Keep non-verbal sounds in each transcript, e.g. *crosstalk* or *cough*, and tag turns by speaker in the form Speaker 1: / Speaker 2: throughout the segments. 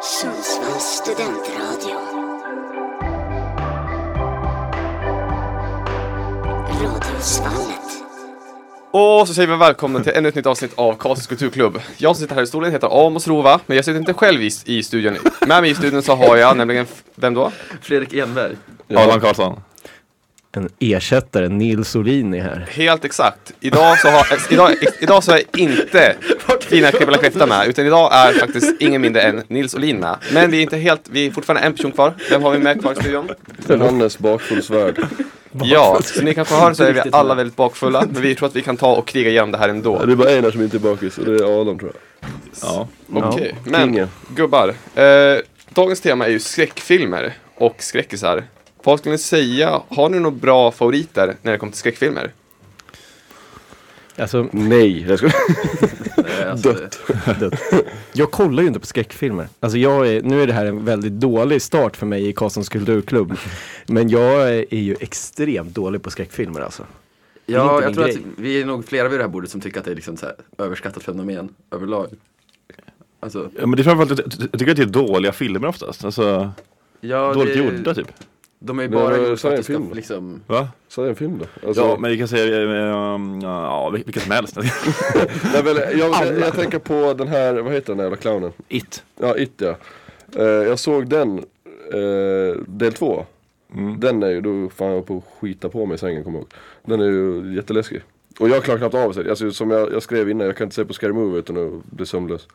Speaker 1: Sundsvalls studentradio. Radiosvallet.
Speaker 2: Och så säger vi välkomna till ännu ett nytt avsnitt av Karlstads kulturklubb. Jag som sitter här i stolen heter Amos Rova, men jag sitter inte själv i, i studion. Med mig i studion så har jag nämligen, f- vem då?
Speaker 3: Fredrik Enberg.
Speaker 4: Adam Karlsson.
Speaker 5: en ersättare, Nils Olin är här.
Speaker 2: Helt exakt. Idag så, har, ex, idag, ex, idag så är inte Fina Kribbla Kräfta med, utan idag är faktiskt ingen mindre än Nils Olin med. Men vi är inte helt, vi är fortfarande en person kvar. Vem har vi med kvar i studion?
Speaker 3: Fernandes bakfull *laughs* svärd.
Speaker 2: Ja, som ni kanske hör så är vi
Speaker 3: Riktigt
Speaker 2: alla
Speaker 3: med.
Speaker 2: väldigt bakfulla, men vi tror att vi kan ta och kriga igenom det här ändå.
Speaker 3: Det är bara en här som inte är bakis och det är Adam tror jag.
Speaker 4: Ja.
Speaker 2: Okej, men
Speaker 3: Kingen.
Speaker 2: gubbar. Eh, dagens tema är ju skräckfilmer och skräckisar. Vad skulle ni säga, har ni några bra favoriter när det kommer till skräckfilmer?
Speaker 5: Alltså,
Speaker 3: Nej,
Speaker 5: *laughs*
Speaker 3: jag skojar.
Speaker 6: alltså,
Speaker 3: Dött.
Speaker 5: jag kollar ju inte på skräckfilmer. Alltså jag är, nu är det här en väldigt dålig start för mig i Karlssons kulturklubb. Men jag är ju extremt dålig på skräckfilmer alltså. är inte
Speaker 6: Ja,
Speaker 5: min
Speaker 6: jag tror
Speaker 5: grej.
Speaker 6: att vi är nog flera vid det här bordet som tycker att det är liksom så här överskattat fenomen överlag. Alltså,
Speaker 4: ja, men det är framförallt, jag ty- jag tycker att det är dåliga filmer oftast. Alltså,
Speaker 6: ja,
Speaker 4: dåligt
Speaker 6: det,
Speaker 4: gjorda typ.
Speaker 6: De är ju
Speaker 3: Men
Speaker 6: bara
Speaker 3: vad
Speaker 6: gjorda för
Speaker 3: sa
Speaker 6: att
Speaker 3: jag,
Speaker 6: det ska
Speaker 3: film?
Speaker 6: liksom
Speaker 4: Va?
Speaker 3: Så är det en film då. Alltså,
Speaker 4: Ja, men vi kan säga, eh, um, ja, vil- vilka
Speaker 5: *laughs*
Speaker 4: som helst.
Speaker 3: nej, men jag, jag, jag tänker på den här, vad heter den där jävla clownen?
Speaker 4: It.
Speaker 3: Ja, It ja. Eh, jag såg den, eh, del två.
Speaker 5: Mm.
Speaker 3: Den är ju, då fan jag var på att skita på mig i sängen kommer jag ihåg. Den är ju jätteläskig. Och jag klarar knappt av sig. Alltså, som jag, jag skrev innan, jag kan inte se på Scary Movie utan att bli sömnlös.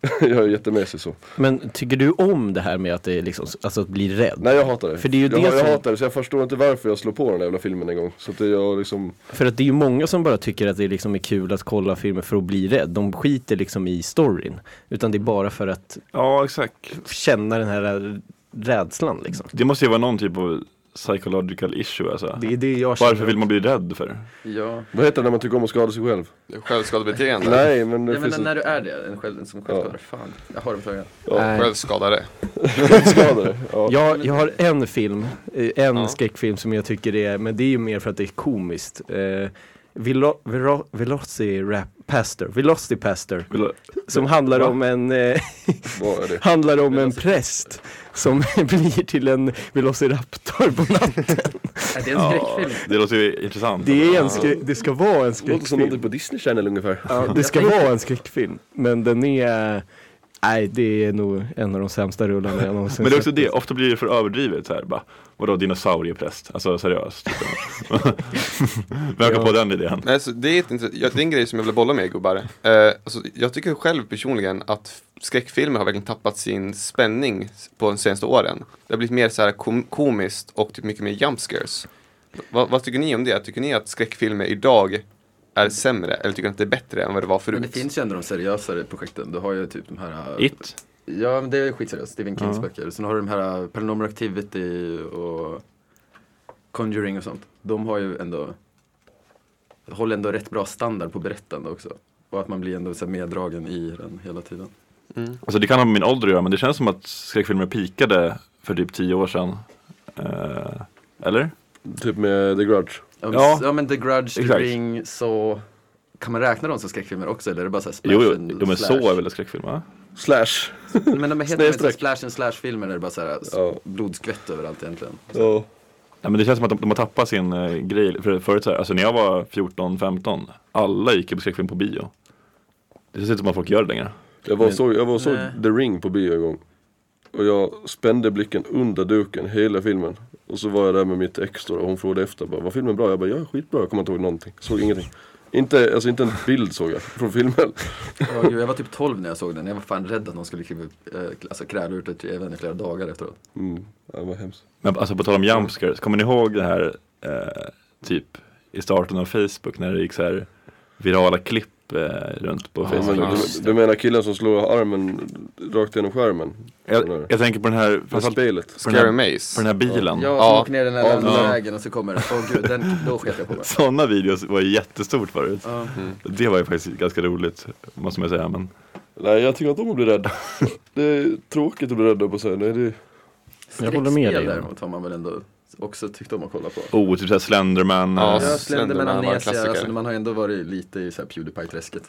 Speaker 3: *laughs* jag är jättemesig så.
Speaker 5: Men tycker du om det här med att det är liksom, alltså att bli rädd?
Speaker 3: Nej jag hatar det.
Speaker 5: För det är ju
Speaker 3: jag,
Speaker 5: det
Speaker 3: jag
Speaker 5: som-
Speaker 3: hatar det så jag förstår inte varför jag slår på den där jävla filmen en gång. Så att jag liksom,
Speaker 5: För att det är ju många som bara tycker att det liksom är kul att kolla filmer för att bli rädd. De skiter liksom i storyn. Utan det är bara för att
Speaker 4: Ja, exakt.
Speaker 5: känna den här rädslan liksom.
Speaker 4: Det måste ju vara någon typ av psychological issue alltså.
Speaker 5: Det är det jag känner.
Speaker 4: Varför vill man bli rädd för?
Speaker 6: Ja,
Speaker 3: vad heter det när man tycker om att skada sig själv?
Speaker 2: Självskadebeteende?
Speaker 3: Nej men det
Speaker 6: jag
Speaker 3: finns
Speaker 6: menar när du är det, en, själv, en som självklar, fan, jag har en fråga.
Speaker 5: Nej.
Speaker 2: Självskadare.
Speaker 3: *laughs* ett skadade. Ja.
Speaker 5: Jag, jag har en film, eh, en
Speaker 2: Ja.
Speaker 5: skräckfilm som jag tycker är, men det är ju mer för att det är komiskt. Eh, Velo, Vero, Velocity Rap, Pastor, Velocity Pastor,
Speaker 4: Vill du-
Speaker 5: som handlar
Speaker 4: Va?
Speaker 5: om en, eh,
Speaker 4: *laughs*
Speaker 3: Vad är det?
Speaker 5: handlar om en präst som *laughs* blir till en Velociraptor på
Speaker 4: *laughs*
Speaker 5: natten.
Speaker 6: Är det en
Speaker 4: Ja,
Speaker 6: skräckfilm?
Speaker 4: det låter ju intressant.
Speaker 5: Det, är en skrä, det ska vara en
Speaker 3: Låter som någonting
Speaker 5: skräckfilm.
Speaker 3: på Disney Channel ungefär.
Speaker 5: Ja, det ska vara en skräckfilm, men den är, eh, nej det är nog en av de sämsta rullarna jag någonsin
Speaker 4: Men det är också
Speaker 5: sett.
Speaker 4: det, ofta blir det för överdrivet så här, bara, vadå dinosauriepräst? Alltså seriöst.
Speaker 5: *laughs*
Speaker 4: Vem kom
Speaker 5: Ja.
Speaker 4: på den idén?
Speaker 2: Men alltså, det, är ett, intress- ja, det är en grej som jag vill bolla med gubbar. Eh, alltså, jag tycker själv personligen att skräckfilmer har verkligen tappat sin spänning på de senaste åren. Det har blivit mer så här kom- komiskt och typ mycket mer jump scares. Va- vad tycker ni om det? Tycker ni att skräckfilmer idag är sämre eller tycker ni att det är bättre än vad det var förut?
Speaker 6: Men det finns ju ändå de seriösare projekten, du har ju typ de här äh,
Speaker 4: It.
Speaker 6: Ja, men det är skitseriöst, Stephen Kings böcker. Sen har du de här äh, Paranormal Activity och Conjuring och sånt. De har ju ändå, håller ändå rätt bra standard på berättande också. Och att man blir ändå så här meddragen i den hela tiden.
Speaker 4: Alltså det kan ha med min ålder att göra men det känns som att skräckfilmer pikade för typ tio år sedan. Eh, eller?
Speaker 3: Typ med The Grudge.
Speaker 6: Ja, men,
Speaker 4: Ja.
Speaker 6: ja. men The Grudge, The
Speaker 4: Exakt.
Speaker 6: Ring, så kan man räkna dem som skräckfilmer också eller är det bara såhär
Speaker 4: Jo, jo,
Speaker 6: and
Speaker 4: de är så är väl skräckfilmer? va?
Speaker 3: Slash.
Speaker 6: Men de heter väl inte
Speaker 3: Snedstreck.
Speaker 6: splash and slash filmer där det bara såhär
Speaker 3: Ja.
Speaker 6: blodskvätt överallt egentligen.
Speaker 3: *laughs* Ja.
Speaker 4: Nej men det känns som att de, de har tappat sin eh, grej. För, förut så här, alltså när jag var 14-15, alla gick ju på skräckfilm på bio. Det känns inte som att folk gör det längre.
Speaker 3: Jag var och såg, jag var och såg
Speaker 6: Nej.
Speaker 3: The Ring på bio en gång. Och jag spände blicken under duken hela filmen. Och så var jag där med mitt ex då, och hon frågade efter. Bara, var filmen bra? Jag bara, ja skitbra. Jag kommer inte ihåg någonting. Såg ingenting. Inte, alltså inte en bild såg jag från filmen.
Speaker 6: Ja, gud, jag var typ 12 när jag såg den, jag var fan rädd att någon skulle kliva, eh, alltså, kräla ut ur tvn i flera dagar efteråt.
Speaker 3: Mm. *laughs* Ja, vad hemskt.
Speaker 4: Men alltså på tal om jumpscares, kommer ni ihåg det här eh, typ i starten av Facebook när det gick så här virala klipp eh, runt på
Speaker 3: Ja,
Speaker 4: Facebook?
Speaker 3: men, du, du menar killen som slår armen rakt genom skärmen?
Speaker 4: jag, jag tänker på den här,
Speaker 3: Med
Speaker 4: framförallt på
Speaker 3: spelet?
Speaker 4: den här,
Speaker 2: Scary Maze.
Speaker 4: på den här bilen.
Speaker 6: Ja,
Speaker 2: Ja.
Speaker 6: som åker ner den
Speaker 3: Ja,
Speaker 6: här
Speaker 4: ja.
Speaker 6: vägen och så kommer åh gud, den, då sket jag på mig.
Speaker 4: Sådana videos var ju jättestort förut.
Speaker 6: Ja.
Speaker 4: Det var ju faktiskt ganska roligt, måste man säga. Men
Speaker 3: Nej jag tycker inte om att bli rädd. *laughs* Det är tråkigt att bli rädd på sig. Nej, det...
Speaker 5: Jag håller med dig.
Speaker 6: Skräckspel däremot har man väl ändå också tyckt om att kolla på.
Speaker 4: oh, typ såhär Slenderman.
Speaker 2: Ja,
Speaker 4: eh,
Speaker 6: Ja, Slender
Speaker 2: Slenderman var en
Speaker 6: Amnesia,
Speaker 2: klassiker.
Speaker 6: alltså, man har ju ändå varit lite i så här Pewdiepie-träsket.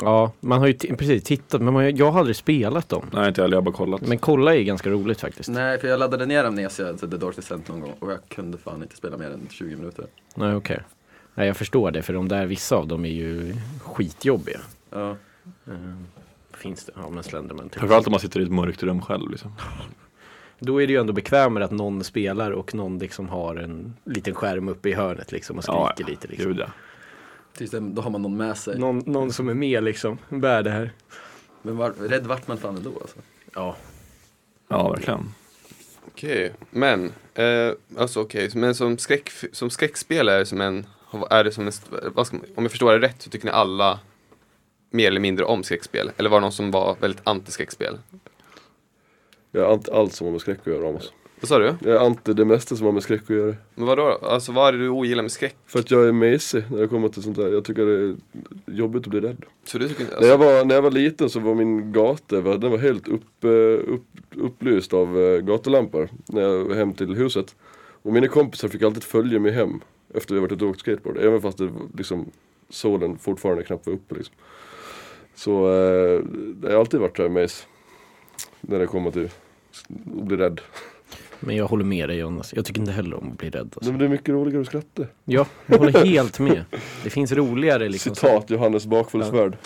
Speaker 5: Ja, man har ju t- precis tittat, men man, har- jag har aldrig spelat dem.
Speaker 4: Nej inte jag heller, jag har bara kollat.
Speaker 5: Men kolla är ju ganska roligt faktiskt.
Speaker 6: Nej, för jag laddade ner Amnesia, alltså The Dark Descent någon gång och jag kunde fan inte spela mer än 20 minuter.
Speaker 5: Nej, okej. Nej, jag förstår det, för de där, vissa av dem är ju skitjobbiga. Eh,
Speaker 6: Ja.
Speaker 5: Finns det? Ja, men Slenderman typ.
Speaker 4: Framförallt om man sitter i ett mörkt rum själv liksom.
Speaker 5: Då är det ju ändå bekvämare att någon spelar och någon liksom har en liten skärm uppe i hörnet liksom och skriker lite. Liksom.
Speaker 4: Gud, ja.
Speaker 6: Tills det, då har man någon med sig.
Speaker 5: Någon, någon som är med liksom, bär det här.
Speaker 6: Men var, rädd vart man fan ändå alltså.
Speaker 5: Ja,
Speaker 4: ja, verkligen.
Speaker 2: Okej, men, eh, alltså okej, men som, skräck, som skräckspel är det som en, är det som en, st- vad ska man, om jag förstår det rätt så tycker ni alla mer eller mindre om skräckspel? Eller var det någon som var väldigt anti-skräckspel?
Speaker 3: Jag är anti allt som har med skräck att göra Amos.
Speaker 2: Vad sa du?
Speaker 3: Jag är anti det mesta som har med skräck att göra.
Speaker 2: Men vadå? Alltså vad är det du ogillar med skräck?
Speaker 3: För att jag är mesig när det kommer till sånt där. Jag tycker det är jobbigt att bli rädd.
Speaker 2: Så du tycker inte,
Speaker 3: När,
Speaker 2: alltså,
Speaker 3: jag var, när jag var liten så var min gata va, den var helt upp, eh, upp, upplyst av eh, gatulampor när jag var hem till huset. Och mina kompisar fick alltid följa mig hem efter vi varit ute och åkt skateboard. Även fast det, var liksom, solen fortfarande knappt var uppe. Liksom. Så eh, det har alltid varit så här mes när det kommer till att bli rädd.
Speaker 5: men jag håller med dig Jonas. Jag tycker inte heller om att bli rädd. Alltså.
Speaker 3: Men det är mycket roligare att skratta.
Speaker 5: Ja, jag håller helt med. Det finns roligare liksom.
Speaker 3: Citat Johannes Bakfull svärd.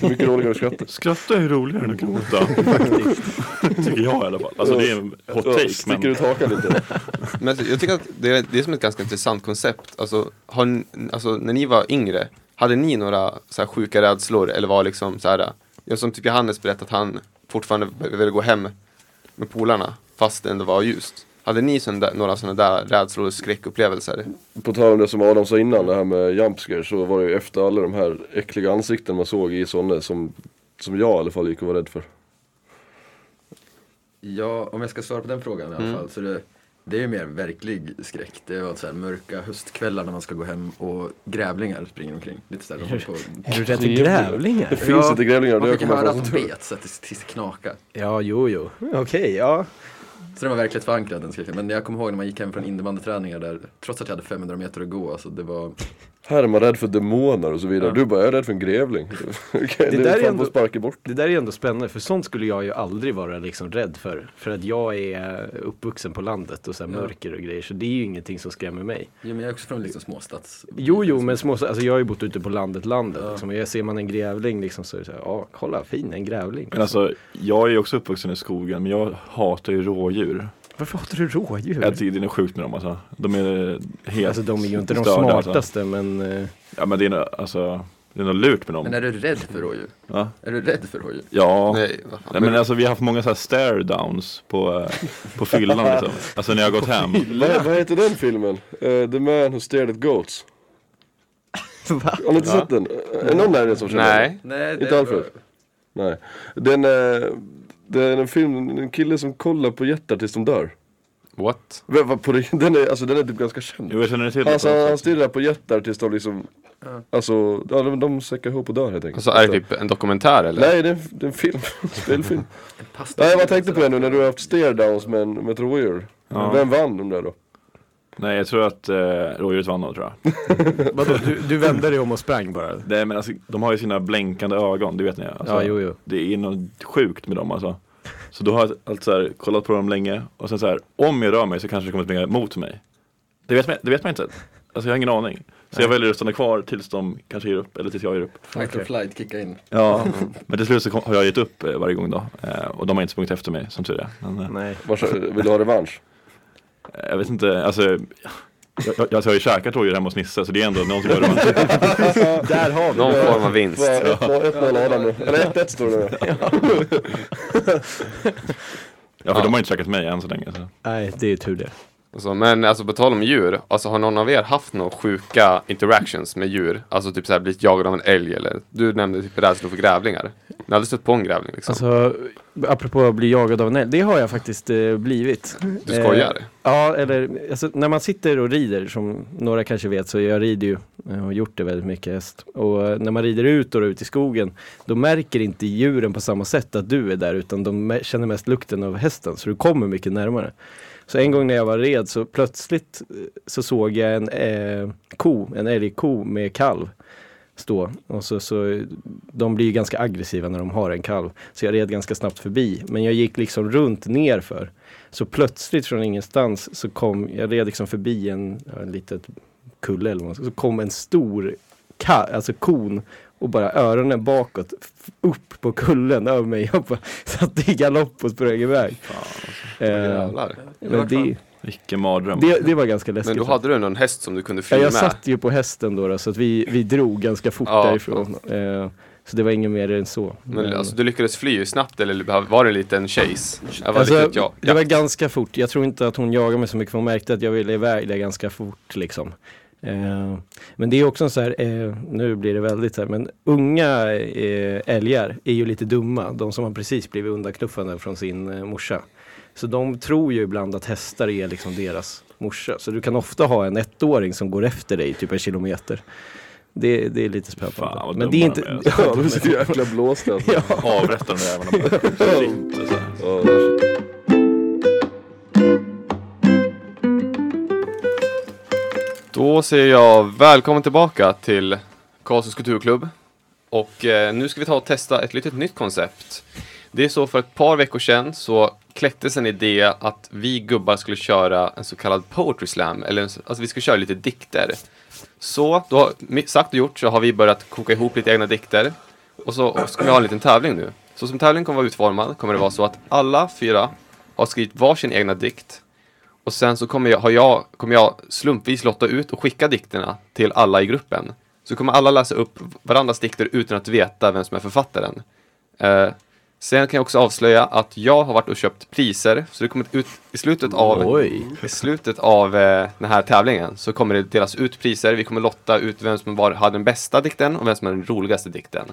Speaker 3: Det är mycket roligare att skratta.
Speaker 4: Skratta är roligare än att gråta. Faktiskt. *laughs* Tycker jag i alla fall. Alltså det är en hot
Speaker 3: Ja,
Speaker 4: take.
Speaker 3: Sticker
Speaker 4: Men
Speaker 3: ut hakan lite.
Speaker 2: men alltså, jag tycker att det är, det är som ett ganska intressant koncept. Alltså, har, ni- alltså när ni var yngre, hade ni några så här, sjuka rädslor eller var liksom så här, jag som typ Johannes berättade att han fortfarande ville gå hem med polarna fast det ändå var ljust. Hade ni sån där, några sådana där rädslor och skräckupplevelser?
Speaker 3: På tal om det som Adam sa innan, det här med jumpscare så var det ju efter alla de här äckliga ansikten man såg i sådana som, som jag i alla fall gick och var rädd för.
Speaker 6: Ja, om jag ska svara på den frågan i alla
Speaker 5: Mm.
Speaker 6: fall. Så det, det är ju mer verklig skräck. Det var så här mörka höstkvällar när man ska gå hem och grävlingar springer omkring. Lite så här, de håller på.
Speaker 5: Är du rädd för grävlingar?
Speaker 3: finns inte grävlingar, det
Speaker 6: Man
Speaker 3: jag
Speaker 6: fick ju
Speaker 3: kommer
Speaker 6: höra
Speaker 3: ihåg.
Speaker 6: att de bet så att det tills det knakade.
Speaker 5: Ja, jo, jo. Okej, ja.
Speaker 6: Så den var verkligt förankrad den skräcken. Men jag kommer ihåg när man gick hem från innebandyträningar där, trots att jag hade 500 meter att gå, alltså det var...
Speaker 3: Här är man rädd för demoner och så vidare. Du bara, jag är rädd för
Speaker 5: *laughs*
Speaker 3: en grävling. Okej, det,
Speaker 5: där är
Speaker 3: är fan
Speaker 5: ändå-
Speaker 3: på sparken bort.
Speaker 5: Det där är ändå spännande, för sånt skulle jag ju aldrig vara liksom rädd för. För att jag är uppvuxen på landet och så här
Speaker 6: Ja.
Speaker 5: mörker och grejer, så det är ju ingenting som skrämmer mig.
Speaker 6: Jo men jag är också från liksom småstads...
Speaker 5: Jo, jo, men små, alltså jag har ju bott ute på landet, landet. Liksom, och jag ser man en grävling liksom så är det så här, ja, kolla, fin, en grävling.
Speaker 4: men alltså, jag är ju också uppvuxen i skogen men jag hatar ju rådjur.
Speaker 5: Varför hatar du rådjur?
Speaker 4: Jag tycker det är något sjukt med dem alltså. De är helt
Speaker 5: Alltså de är ju inte de
Speaker 4: störda, Alltså.
Speaker 5: smartaste, men eh,
Speaker 4: Ja men det är, nå- alltså, det är något lurt med dem.
Speaker 6: Men är du rädd för rådjur?
Speaker 4: Va?
Speaker 6: Är du rädd för rådjur?
Speaker 4: Ja.
Speaker 2: Nej, vad fan.
Speaker 4: Nej, men alltså vi har haft många så här stare downs på, eh,
Speaker 5: *laughs*
Speaker 4: på fyllan liksom. Alltså när jag har gått hem.
Speaker 3: Vad, vad heter den filmen? Eh, The man who stared
Speaker 5: *laughs*
Speaker 3: at goats. Har ni inte sett den? Eh, Är det någon där inne som känner den?
Speaker 2: Nej.
Speaker 6: Nej,
Speaker 3: Inte Alfred? Nej. Den, eh, det är en film, en kille som kollar på jättar tills de dör.
Speaker 2: What?
Speaker 3: Vem var På, det- den, är, alltså, den är typ ganska känd.
Speaker 4: Jo jag känner till
Speaker 3: Alltså han,
Speaker 4: det.
Speaker 3: han stirrar på jättar tills de liksom Alltså, ja, de, de säckar ihop och dör helt enkelt
Speaker 2: Alltså är det typ en dokumentär eller?
Speaker 3: Nej, det är, en- det är en film, *laughs* spelfilm
Speaker 6: Pasta.
Speaker 3: Nej, jag bara tänkte på det nu när du har haft stare-downs med, en- med ett rådjur Vem vann de där då?
Speaker 4: Nej jag tror att eh, rådjuret vann då tror jag.
Speaker 5: vadå, du, du vände dig om och sprang bara?
Speaker 4: Nej men alltså de har ju sina blänkande ögon, det vet ni alltså,
Speaker 5: Ja, jo, jo.
Speaker 4: Det är något sjukt med dem alltså. Så då har jag alltså så här, kollat på dem länge och sen så här, om jag rör mig så kanske det kommer springa mot mig. Det vet man, det vet man inte. Alltså jag har ingen aning. Så jag väljer att stanna kvar tills de kanske ger upp eller tills jag ger upp.
Speaker 6: Fight or flight, kicka in.
Speaker 4: Ja, *laughs* men till slut så kom- har jag gett upp eh, varje gång då. Eh, och de har inte sprungit efter mig som tur är. Men, eh,
Speaker 5: Nej.
Speaker 3: Vars, vill du ha *laughs* revansch?
Speaker 4: Eh, Jag vet inte, alltså jag, jag, jag, alltså, jag har ju käkat rådjur hemma hos Nisse så det är ändå någon som
Speaker 5: *laughs*
Speaker 4: gör det.
Speaker 5: Där har vi
Speaker 2: Någon form av vinst.
Speaker 3: Vad- 1-0 Adam nu, eller 1-1 står det nu
Speaker 4: Ja, för de har ju inte käkat mig än så länge. Så.
Speaker 5: Nej, det är ju tur det.
Speaker 2: Alltså, men alltså på tal om djur, alltså har någon av er haft några sjuka interactions med djur? Alltså typ såhär blivit jagad av en älg eller? Du nämnde typ rädslor för grävlingar. Ni har aldrig stött på en grävling liksom?
Speaker 5: Alltså, apropå att bli jagad av en älg, det har jag faktiskt eh, blivit. Eh,
Speaker 2: du skojar?
Speaker 5: Ja, eller alltså, när man sitter och rider, som några kanske vet, så jag rider ju eh, och har gjort det väldigt mycket häst. Och eh, när man rider ut och ut i skogen, då märker inte djuren på samma sätt att du är där, utan de mä- känner mest lukten av hästen, så du kommer mycket närmare. Så en gång när jag var red så plötsligt eh, så såg jag en eh, ko, en älgko med kalv. stå. Och så, så, de blir ju ganska aggressiva när de har en kalv. Så jag red ganska snabbt förbi. Men jag gick liksom runt nerför. Så plötsligt från ingenstans så kom, jag red liksom förbi en, ja, en litet kulle eller vad man ska, så kom en stor ka, alltså kon och bara öronen bakåt f- upp på kullen över mig. Jag bara *laughs* satt i galopp och sprang iväg. Eh,
Speaker 2: Jävlar.
Speaker 5: men det,
Speaker 4: Vilken mardröm.
Speaker 5: det, det var ganska läskigt.
Speaker 2: Men då hade du ändå en häst som du kunde
Speaker 5: Ja,
Speaker 2: fly
Speaker 5: jag
Speaker 2: med.
Speaker 5: satt ju på hästen då, då så att vi, vi drog ganska fort
Speaker 2: Ja,
Speaker 5: därifrån. Eh, så det var inget mer än så. Eh,
Speaker 2: Men, alltså, du lyckades fly snabbt eller var det en liten chase? Jag var
Speaker 5: Alltså,
Speaker 2: riktigt, ja,
Speaker 5: Det var
Speaker 2: ja.
Speaker 5: ganska fort. Jag tror inte att hon jagade mig så mycket för hon märkte att jag ville iväg där ganska fort liksom. Eh, men det är också en så här, eh, nu blir det väldigt så här, men unga eh, älgar är ju lite dumma. De som har precis blivit undanknuffade från sin eh, morsa. Så de tror ju ibland att hästar är liksom deras morsa. Så du kan ofta ha en ettåring som går efter dig typ en kilometer. Det, det är lite spännande.
Speaker 4: Fan, vad
Speaker 5: men det är
Speaker 4: dumma
Speaker 5: inte...
Speaker 4: de är,
Speaker 3: Ja, de är så jäkla blåsta alltså.
Speaker 5: ja.
Speaker 4: Avrättar de jävlarna bara. Shit, alltså.
Speaker 2: Då säger jag välkommen tillbaka till Karlstads kulturklubb. Och eh, nu ska vi ta och testa ett litet nytt koncept. Det är så för ett par veckor sedan så kläcktes en idé att vi gubbar skulle köra en så kallad poetry slam, eller en s- alltså vi skulle köra lite dikter. Så, då, har- med sagt och gjort så har vi börjat koka ihop lite egna dikter. Och så och ska vi ha en liten tävling nu. Så som tävlingen kommer vara utformad kommer det vara så att alla fyra har skrivit varsin egna dikt. Och sen så kommer jag, har jag, kommer jag slumpvis lotta ut och skicka dikterna till alla i gruppen. Så kommer alla läsa upp varandras dikter utan att veta vem som är författaren. Eh, sen kan jag också avslöja att jag har varit och köpt priser. Så det kommer ut i slutet av...
Speaker 5: Oj.
Speaker 2: I slutet av eh, den här tävlingen så kommer det delas ut priser. Vi kommer lotta ut vem som var, hade den bästa dikten och vem som hade den roligaste dikten.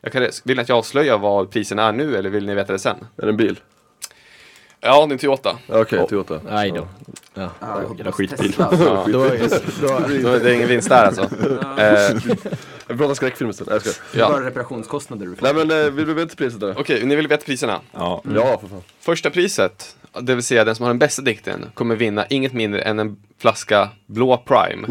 Speaker 2: Jag kan, vill ni att jag avslöjar vad priserna är nu eller vill ni veta det sen?
Speaker 3: Är det en bil?
Speaker 2: Ja, det är en Toyota.
Speaker 3: Ja, Okej, Toyota.
Speaker 5: Nej då.
Speaker 6: Ah, jag
Speaker 4: Jävla
Speaker 6: hoppas
Speaker 4: skitbil.
Speaker 6: Tesla.
Speaker 5: Då
Speaker 2: *laughs*
Speaker 5: är
Speaker 2: Då är Det är ingen vinst där *laughs* alltså. Eh,
Speaker 3: Vi pratar skräckfilm sen. Nej, jag skojar.
Speaker 6: Det är
Speaker 2: ja.
Speaker 6: bara reparationskostnader du får.
Speaker 3: Nej men eh, vill du veta priset då?
Speaker 2: Okej, ni vill veta priserna?
Speaker 4: Ja,
Speaker 3: Ja, för fan.
Speaker 2: Första priset, det vill säga den som har den bästa dikten, kommer vinna inget mindre än en flaska blå Prime.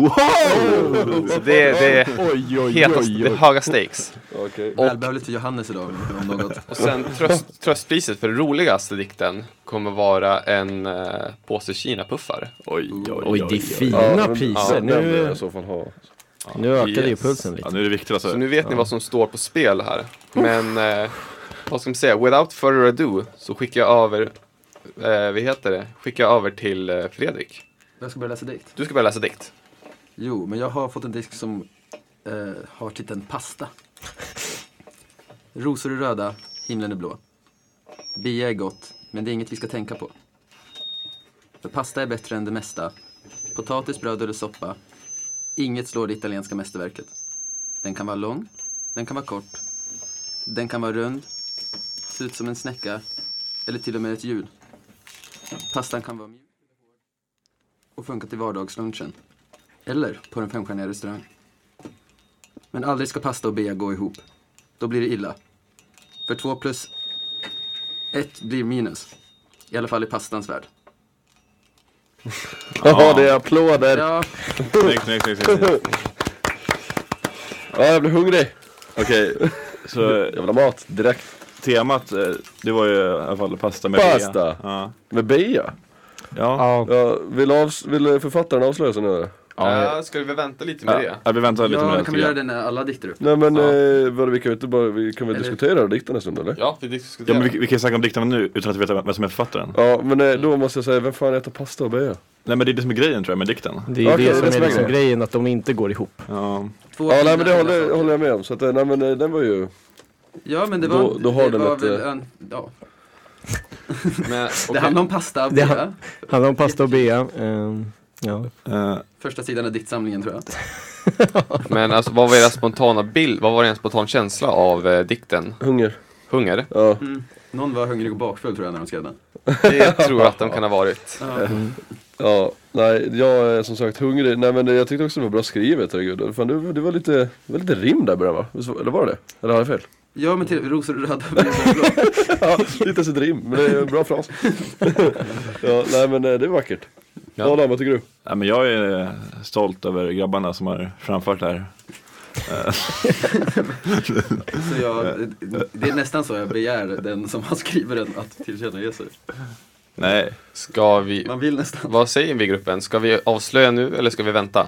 Speaker 2: Så det, är- det är
Speaker 4: Oj, oj,
Speaker 2: hetast, det är höga stakes.
Speaker 3: Okej.
Speaker 6: Välbehövligt för Johannes idag om något.
Speaker 2: Och sen tröst, tröstpriset för den roligaste dikten kommer vara en eh, påse kinapuffar.
Speaker 4: oj, oj, oj,
Speaker 5: Oj, det är
Speaker 3: Ja,
Speaker 5: fina
Speaker 3: men-
Speaker 5: priser.
Speaker 3: Ja, den vill jag
Speaker 5: nu,
Speaker 3: i så fall ha.
Speaker 5: nu ökade
Speaker 2: Yes.
Speaker 5: ju pulsen lite.
Speaker 4: Ja, nu är det viktigt alltså.
Speaker 2: Så nu vet ni vad som står på spel här. Men eh, vad ska man säga, without further ado så skickar jag över, eh, vad heter det, skickar jag över till eh, Fredrik.
Speaker 6: Jag ska börja läsa dikt.
Speaker 2: Du ska börja läsa dikt.
Speaker 6: Jo, men jag har fått en disk som eh, har titeln Pasta. Rosor är röda, himlen är blå. Bia är gott, men det är inget vi ska tänka på. För pasta är bättre än det mesta. Potatis, bröd eller soppa. Inget slår det italienska mästerverket. Den kan vara lång, den kan vara kort. Den kan vara rund, se ut som en snäcka eller till och med ett hjul. Pastan kan vara mjuk och funka till vardagslunchen eller på en femstjärnig restaurang. Men aldrig ska pasta och bea gå ihop. Då blir det illa. För två plus ett blir minus. I alla fall i pastans värld.
Speaker 3: Ja, det är applåder.
Speaker 6: Ja,
Speaker 4: Snyggt, snyggt, snyggt, snyggt.
Speaker 3: Ja, jag blir hungrig. Okej.
Speaker 4: Så
Speaker 3: Jag vill ha mat direkt.
Speaker 4: temat, eh, det var ju i alla fall pasta med
Speaker 3: Pasta.
Speaker 4: bea. Ja.
Speaker 3: Med Bea.
Speaker 4: ja.
Speaker 5: Ja,
Speaker 3: Ja, vill, avs- vill författaren avslöja sig nu eller?
Speaker 2: Ja, Eh, ska vi vänta lite med det?
Speaker 4: Ja, vi väntar lite
Speaker 6: ja
Speaker 4: med
Speaker 6: vi kan
Speaker 4: det. tycker
Speaker 6: väl göra
Speaker 4: jag.
Speaker 6: det när alla dikter upp.
Speaker 3: Nej men
Speaker 2: Ja.
Speaker 3: eh, vadå, vi kan ju inte bara, vi kan väl
Speaker 6: Eller-
Speaker 3: diskutera dikten en stund eller?
Speaker 2: Ja, vi
Speaker 4: Ja,
Speaker 2: diskuterar.
Speaker 4: men vi, vi kan ju snacka om dikterna nu utan att veta vem som är författaren.
Speaker 3: Ja men eh, då måste jag säga, vem fan äter pasta och bea?
Speaker 4: Nej men det är det som är grejen tror jag med dikten.
Speaker 5: det är ju
Speaker 3: Okej,
Speaker 5: det som
Speaker 3: det
Speaker 5: är
Speaker 3: smäller.
Speaker 5: liksom grejen, att de inte går ihop.
Speaker 4: Ja.
Speaker 6: Två
Speaker 3: Ja
Speaker 6: fina,
Speaker 3: nej men det
Speaker 6: fina
Speaker 3: håller,
Speaker 6: saker.
Speaker 3: håller jag med om, så att eh, nej men eh, den var ju
Speaker 6: Ja, men det
Speaker 3: Då-
Speaker 6: var...
Speaker 3: då har
Speaker 6: det
Speaker 3: den
Speaker 6: var
Speaker 3: ett,
Speaker 6: väl
Speaker 3: eh,
Speaker 6: en, ja.
Speaker 2: Men,
Speaker 6: Det
Speaker 2: okej.
Speaker 6: handlar om pasta och
Speaker 5: Det
Speaker 6: bea.
Speaker 5: han- Handlar om pasta och bea. ehm, ja.
Speaker 4: Eh,
Speaker 6: Första sidan av diktsamlingen tror jag.
Speaker 2: men alltså, vad var era spontana bild, vad var er spontan känsla av eh, dikten?
Speaker 3: hunger.
Speaker 2: Hunger?
Speaker 3: Ja.
Speaker 6: Någon var hungrig och bakfull tror jag när de skrev den.
Speaker 2: Det tror jag att de kan ha varit.
Speaker 3: Ja, nej jag är som sagt hungrig. Nej men eh, jag tyckte också det var bra skrivet, herregud. Fan du, du var lite, det var lite rim där i början va? Visst var- Eller var det det? Eller har jag fel?
Speaker 6: Ja, men till rosor och röda blommor.
Speaker 3: *laughs* Ja, lite ens ett rim, men det är en bra *laughs* fras. ja, nej men eh, det är vackert. Ja. Adam, vad tycker du?
Speaker 4: nej, men jag är stolt över grabbarna som har framfört det här.
Speaker 6: Så jag, det är nästan så jag begär den som har skrivit den att tillkännage sig.
Speaker 4: Nej.
Speaker 2: Ska vi,
Speaker 6: Man vill nästan.
Speaker 2: vad säger vi i gruppen? Ska vi avslöja nu eller ska vi vänta?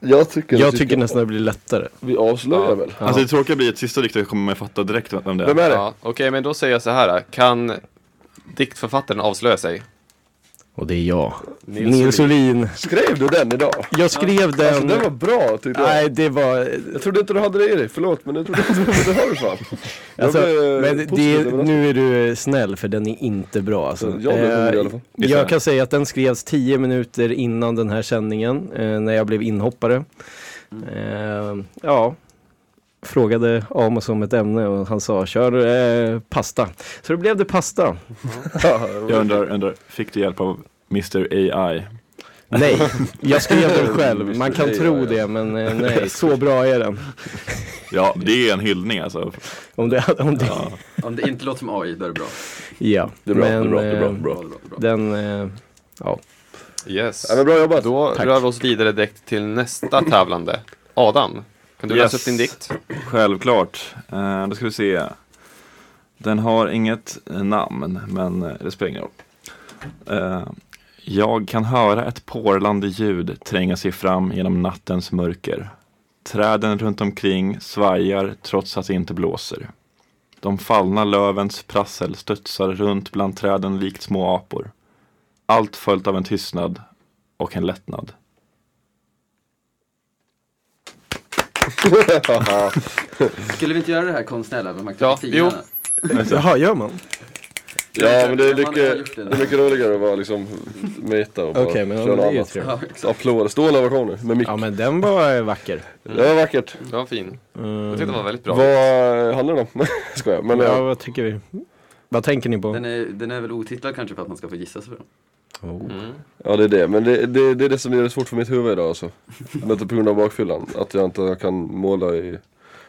Speaker 3: Jag tycker,
Speaker 5: Jag tycker nästan det blir lättare.
Speaker 3: vi avslöjar
Speaker 2: Ja.
Speaker 3: väl.
Speaker 4: Alltså det tråkiga blir att sista dikten kommer man fatta direkt vem det
Speaker 3: Vem
Speaker 4: är.
Speaker 3: är det?
Speaker 2: Ja, Okej, men då säger jag så här. Kan diktförfattaren avslöja sig?
Speaker 5: Och det är jag.
Speaker 2: Nils
Speaker 5: Nils, Olin.
Speaker 3: Skrev du den idag?
Speaker 5: Jag skrev den...
Speaker 3: Alltså den var bra tyckte jag.
Speaker 5: Nej, det var...
Speaker 3: Jag trodde inte du hade det i dig, förlåt men jag trodde inte *laughs* du hade det fan. Jag
Speaker 5: Alltså,
Speaker 3: blev, eh,
Speaker 5: men
Speaker 3: positiv
Speaker 5: det,
Speaker 3: över den.
Speaker 5: nu är du snäll för den är inte bra alltså.
Speaker 3: Jag blev hungrig i alla fall.
Speaker 4: Visst är
Speaker 5: Jag
Speaker 4: det?
Speaker 5: kan säga att den skrevs 10 minuter innan den här sändningen eh, när jag blev inhoppare. Eh, ja, frågade Amos om ett ämne och han sa kör eh, pasta. Så då blev det pasta.
Speaker 3: Ja, det var-
Speaker 4: Jag undrar, undrar, fick du hjälp av Mr AI?
Speaker 5: Nej, jag skrev *laughs* den själv. Man kan
Speaker 3: Nej,
Speaker 5: tro
Speaker 3: ja, ja.
Speaker 5: det men eh, nej, *laughs* så bra är den.
Speaker 4: Ja, det är en hyllning alltså.
Speaker 5: Om det, om det,
Speaker 4: Ja.
Speaker 6: Om det inte låter som AI, då är det bra.
Speaker 5: ja.
Speaker 3: Det är bra, det är
Speaker 5: Men,
Speaker 3: bra, det är bra,
Speaker 5: eh,
Speaker 3: bra.
Speaker 6: bra, bra.
Speaker 5: Den, eh, ja.
Speaker 2: Yes.
Speaker 3: Ja, men bra jobbat.
Speaker 2: Då
Speaker 5: Tack.
Speaker 2: rör vi oss vidare direkt till nästa tävlande. Adam, kan du
Speaker 4: Yes.
Speaker 2: läsa upp din dikt?
Speaker 4: Självklart. Eh, då ska vi se. Den har inget eh, namn, men eh, det spelar ingen roll. Eh, jag kan höra ett porlande ljud tränga sig fram genom nattens mörker. Träden runt omkring svajar trots att det inte blåser. De fallna lövens prassel studsar runt bland träden likt små apor. Allt följt av en tystnad och en lättnad.
Speaker 3: *laughs*
Speaker 6: Skulle vi inte göra det här konstnärliga med
Speaker 2: Ja,
Speaker 6: Magdalena? Ja,
Speaker 2: jo.
Speaker 5: Jaha, gör man?
Speaker 3: Ja men det är mycket,
Speaker 6: Man har gjort
Speaker 3: det är mycket roligare att vara liksom meta och bara
Speaker 5: Okej, men ja,
Speaker 3: köra
Speaker 5: men det är ju
Speaker 3: annat.
Speaker 5: trevligt.
Speaker 6: Ja, exakt.
Speaker 3: Applåder, stående ovationer med mick.
Speaker 5: Ja men den var eh, vacker.
Speaker 3: Det var vackert.
Speaker 2: Det var fin. Jag
Speaker 5: Mm.
Speaker 2: tyckte det var väldigt bra.
Speaker 3: Vad handlar det om? *laughs* Nej, Skojar, men eh,
Speaker 5: Ja,
Speaker 3: ja.
Speaker 5: vad tycker vi? Vad tänker ni på?
Speaker 6: Den är, den är väl otitlad kanske för att man ska få gissa sig fram.
Speaker 2: Mm.
Speaker 3: ja det är det. Men det, det, det är det som gör det svårt för mitt huvud idag alltså. Men inte på grund av bakfyllan, att jag inte kan måla i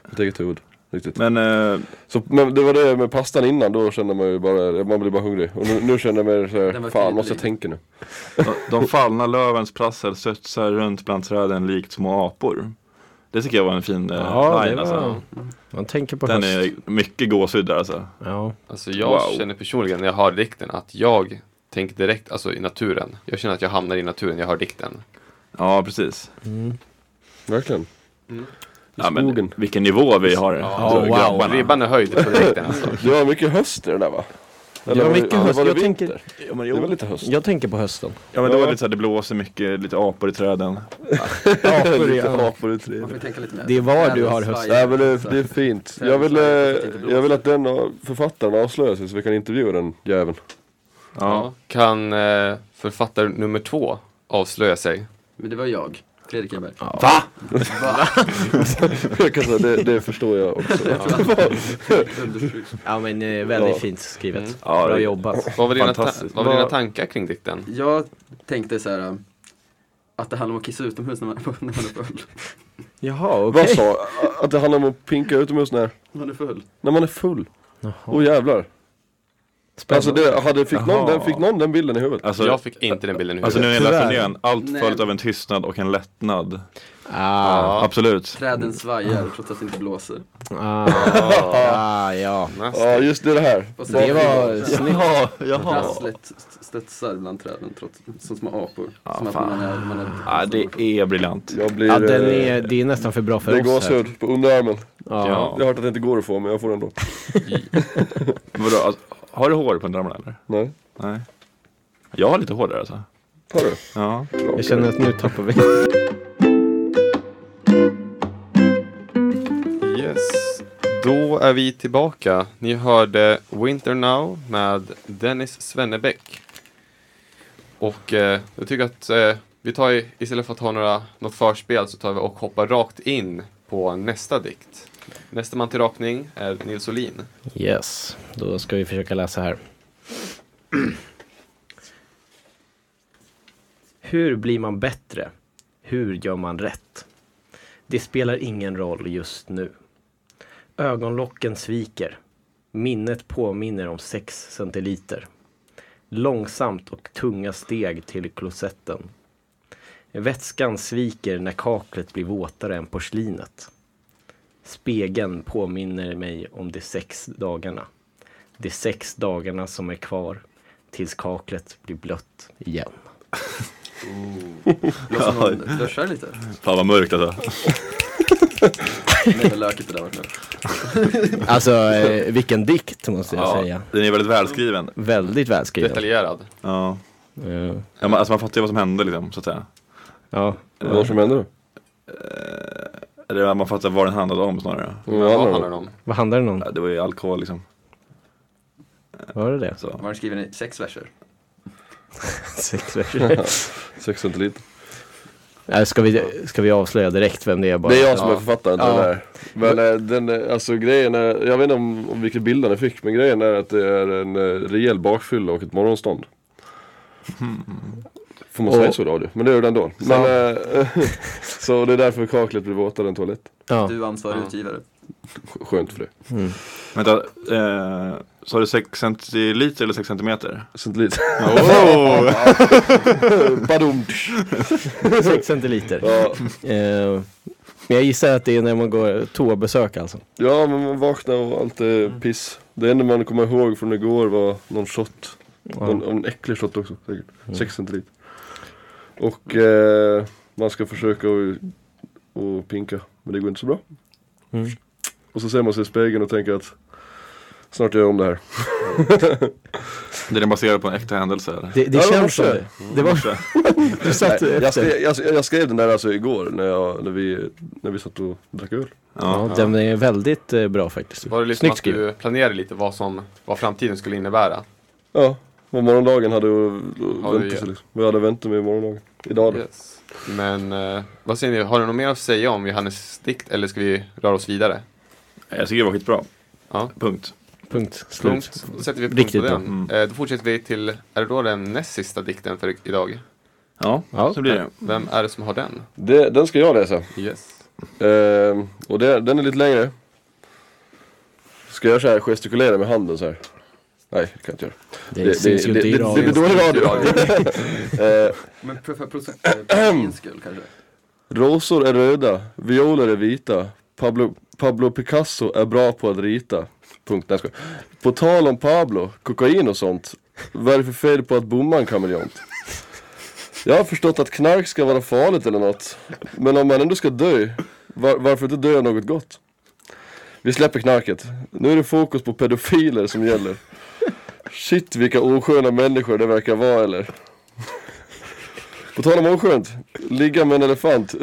Speaker 3: mitt eget huvud. Riktigt.
Speaker 4: Men eh,
Speaker 3: Så, men det var det med pastan innan, då kände man ju bara, man blir bara hungrig. Och nu, nu känner jag mer
Speaker 6: Den
Speaker 3: såhär,
Speaker 6: var
Speaker 3: fan
Speaker 6: tydlig.
Speaker 3: måste jag tänka nu.
Speaker 4: De- De fallna lövens prassel studsar runt bland träden likt små apor. Det tycker jag var en fin eh,
Speaker 5: Ja, det
Speaker 4: line
Speaker 5: var...
Speaker 4: alltså.
Speaker 5: Man tänker på
Speaker 4: Den
Speaker 5: höst.
Speaker 4: är mycket gåshud där alltså.
Speaker 5: Ja.
Speaker 2: Alltså jag
Speaker 4: Wow.
Speaker 2: känner personligen när jag hör dikten att jag tänker direkt alltså, i naturen. Jag känner att jag hamnar i naturen när jag hör dikten.
Speaker 4: Ja, precis.
Speaker 3: Verkligen.
Speaker 6: Mm.
Speaker 4: Ja, men
Speaker 3: skogen.
Speaker 4: vilken nivå vi har.
Speaker 5: Ja,
Speaker 4: dragit
Speaker 5: wow.
Speaker 4: grabbarna.
Speaker 2: Alltså, Ribban är höjd för dikten alltså.
Speaker 3: Det var mycket höst i det där va?
Speaker 5: Det var
Speaker 3: det-
Speaker 5: mycket
Speaker 3: eller
Speaker 5: höst.
Speaker 3: var det
Speaker 5: Jag
Speaker 3: vinter?
Speaker 5: tänker,
Speaker 4: Ja, men,
Speaker 3: Det var
Speaker 4: jo.
Speaker 3: lite höst.
Speaker 5: jag tänker på hösten.
Speaker 4: ja, men det var lite så här, det blåser mycket, lite apor i träden.
Speaker 5: Apor, ja.
Speaker 3: apor i träd.
Speaker 6: Man får tänka lite mer.
Speaker 5: Det är var du har
Speaker 6: Träden
Speaker 5: höst.
Speaker 6: svajar,
Speaker 3: Nej men det,
Speaker 6: så.
Speaker 3: det är fint. Jag vill, eh, jag vill att den av- författaren avslöjar sig så vi kan intervjua den jäveln.
Speaker 4: Ja.
Speaker 2: Kan eh, författare nummer två avslöja sig?
Speaker 6: Men det var jag, Fredrik Enberg.
Speaker 3: Jag kan säga, det, det förstår jag också.
Speaker 6: Understryk.
Speaker 5: Ja men eh,
Speaker 3: Ja.
Speaker 5: väldigt fint skrivet.
Speaker 4: Ja,
Speaker 5: Bra
Speaker 4: det-
Speaker 5: jobbat.
Speaker 2: Vad var dina, ta-
Speaker 4: Fantastiskt.
Speaker 2: vad var dina
Speaker 4: Vad-
Speaker 2: tankar kring dikten?
Speaker 6: Jag tänkte så här um, att det handlar om att kissa utomhus när man *laughs* är full. När man är full.
Speaker 5: Jaha, okej.
Speaker 3: *laughs* Vad sa Att det handlar om att pinka utomhus när,
Speaker 6: Man är full.
Speaker 3: när man är full? Åh jävlar. Alltså det, hade, fick, någon, den, fick någon den bilden i huvudet?
Speaker 4: Alltså,
Speaker 2: jag fick inte den bilden i
Speaker 4: alltså nu
Speaker 2: huvudet.
Speaker 4: när jag
Speaker 5: Tyvärr.
Speaker 4: läser den igen, allt
Speaker 6: Nej.
Speaker 4: följt av en tystnad och en lättnad.
Speaker 5: Ah,
Speaker 4: Absolut.
Speaker 6: Träden svajar trots att det inte blåser.
Speaker 5: ah, ah, ja.
Speaker 3: Ja just det, det här.
Speaker 6: Och sen-
Speaker 5: Det var snyggt.
Speaker 4: Ja, jaha.
Speaker 6: Prasslet st- studsar bland träden trots, som små apor.
Speaker 4: Ja,
Speaker 6: som
Speaker 4: fan.
Speaker 6: att man är, man är
Speaker 4: Ja, det är briljant.
Speaker 3: Jag blir...
Speaker 5: Ja, den
Speaker 3: eh,
Speaker 5: är, det är nästan för bra
Speaker 3: det
Speaker 5: för
Speaker 3: är
Speaker 5: oss här.
Speaker 3: gåshud på underarmen.
Speaker 5: Ja.
Speaker 4: Ja.
Speaker 3: Jag har hört att det inte går att få men jag får den då.
Speaker 4: Vadå, alltså, har du hår på underarmarna eller?
Speaker 3: Nej.
Speaker 4: Nej. Jag har lite hår där alltså.
Speaker 3: Har du?
Speaker 4: Ja.
Speaker 5: Jag känner att nu tappar vi.
Speaker 2: Yes. Då är vi tillbaka. Ni hörde Winter Now med Dennis Svennebäck. Och eh, jag tycker att eh, vi tar, i- istället för att ha några, något förspel så tar vi och hoppar rakt in på nästa dikt. Nästa man till rakning är Nils Olin.
Speaker 5: Yes, då ska vi försöka läsa här. Hur blir man bättre? Hur gör man rätt? Det spelar ingen roll just nu. Ögonlocken sviker. Minnet påminner om 6 centiliter. Långsamt och tunga steg till klosetten. Vätskan sviker när kaklet blir våtare än porslinet. Spegeln påminner mig om de sex dagarna. De sex dagarna som är kvar tills kaklet blir blött igen.
Speaker 6: Låt som någon duschar lite.
Speaker 4: Fan vad mörkt alltså.
Speaker 6: Nej vad lökigt det där var.
Speaker 5: Alltså eh, vilken dikt måste jag säga.
Speaker 4: den är väldigt välskriven.
Speaker 5: Väldigt välskriven.
Speaker 2: Detaljerad.
Speaker 4: Ja.
Speaker 5: Eh,
Speaker 4: Ja, man, alltså man fattar ju vad som hände liksom, så att säga.
Speaker 5: Ja.
Speaker 3: Vad var det som hände då?
Speaker 4: Eller man fattar vad den handlade om snarare.
Speaker 3: Vad
Speaker 2: Vad
Speaker 3: handlar
Speaker 2: handlar
Speaker 3: det
Speaker 2: det
Speaker 3: om?
Speaker 2: om?
Speaker 5: Vad handlar den om?
Speaker 4: Ja, Det var ju alkohol liksom.
Speaker 5: Var det det?
Speaker 4: Så.
Speaker 6: Var den skriven i sex verser?
Speaker 5: Sex verser.
Speaker 3: Sex centiliter.
Speaker 5: Nej, ska, vi, ska vi avslöja direkt vem det är bara?
Speaker 3: Det är jag som
Speaker 2: Ja.
Speaker 3: är författaren till
Speaker 5: Ja.
Speaker 3: den här. Men eh, den, eh, alltså grejen är, jag vet inte om, om vilken bild den fick, men grejen är att det är en eh, rejäl bakfylla och ett morgonstånd. Får man säga
Speaker 5: Hmm. Och-
Speaker 3: så i radio? Men det är den ändå. Men, eh, *laughs* så det är därför kaklet blir våtare än toalett.
Speaker 5: Ja. Mm.
Speaker 6: Du är ansvarig
Speaker 2: Ja.
Speaker 6: utgivare.
Speaker 3: Skönt för det.
Speaker 4: Vänta, eh, sa du 6 centiliter eller 6 centimeter?
Speaker 3: Centiliter. *laughs*
Speaker 4: Oh!
Speaker 5: Oh!
Speaker 3: Badum.
Speaker 5: Sex centiliter.
Speaker 3: Ja.
Speaker 5: Eh, Men jag gissar att det är när man går toabesök alltså.
Speaker 3: ja men man vaknar och allt är piss. Det enda man kommer ihåg från igår var någon shot. Någon, en äcklig shot också säkert. Sex centiliter. Och eh, man ska försöka att- att pinka. Men det går inte så bra.
Speaker 5: Mm.
Speaker 3: Och så ser man sig i spegeln och tänker att snart gör jag om det här.
Speaker 4: Det är baserat på en äkta händelse eller?
Speaker 5: Det, det
Speaker 3: Ja, det
Speaker 5: känns
Speaker 3: måste
Speaker 5: som det. Det var *laughs* du satt
Speaker 3: Nej, jag,
Speaker 5: efter.
Speaker 3: skrev, jag, jag skrev den där alltså igår när, jag, när, vi, när vi satt och drack öl.
Speaker 4: Ja.
Speaker 5: Ja, den är väldigt eh, bra faktiskt.
Speaker 2: Var det liksom
Speaker 5: Snyggt
Speaker 2: att
Speaker 5: skrivet.
Speaker 2: du planerade lite vad, som, vad framtiden skulle innebära?
Speaker 3: Ja, och morgondagen hade ju
Speaker 2: Ja,
Speaker 3: väntat
Speaker 2: det-
Speaker 3: sig liksom. Vi hade väntat mig morgondagen. Idag då.
Speaker 2: Yes. Men eh, vad säger ni, har du något mer att säga om Johannes dikt eller ska vi röra oss vidare?
Speaker 4: Jag tycker det var skitbra.
Speaker 2: Ja.
Speaker 4: Punkt.
Speaker 5: Punkt
Speaker 2: Punkt.
Speaker 5: slut.
Speaker 2: Då sätter vi punkt
Speaker 5: Riktigt
Speaker 2: på
Speaker 5: bra.
Speaker 2: den. Eh, då fortsätter vi till, är det då den näst sista dikten för idag? Eh,
Speaker 4: Ja,
Speaker 5: Ja.
Speaker 4: så blir det.
Speaker 2: Vem är det som har den?
Speaker 3: Det, den ska jag läsa.
Speaker 2: Yes.
Speaker 3: Ehm, och det, den är lite längre. Ska jag så här gestikulera med handen så här? Nej, det kan jag inte göra.
Speaker 5: Det, syns ju
Speaker 3: det,
Speaker 5: inte i
Speaker 3: det, det,
Speaker 5: radion.
Speaker 3: blir dålig radio.
Speaker 5: *laughs*
Speaker 3: Ehm,
Speaker 6: Men för *clears throat* procentens skull kanske?
Speaker 3: Rosor är röda, violer är vita Pablo, Pablo Picasso är bra på att rita Punkt, nej jag skojar. På tal om Pablo, kokain och sånt Vad är det för fel på att bomma en kameleont? Jag har förstått att knark ska vara farligt eller något Men om man ändå ska dö, var, varför inte dö av något gott? Vi släpper knarket Nu är det fokus på pedofiler som gäller Shit vilka osköna människor det verkar vara eller På tal om oskönt, ligga med en elefant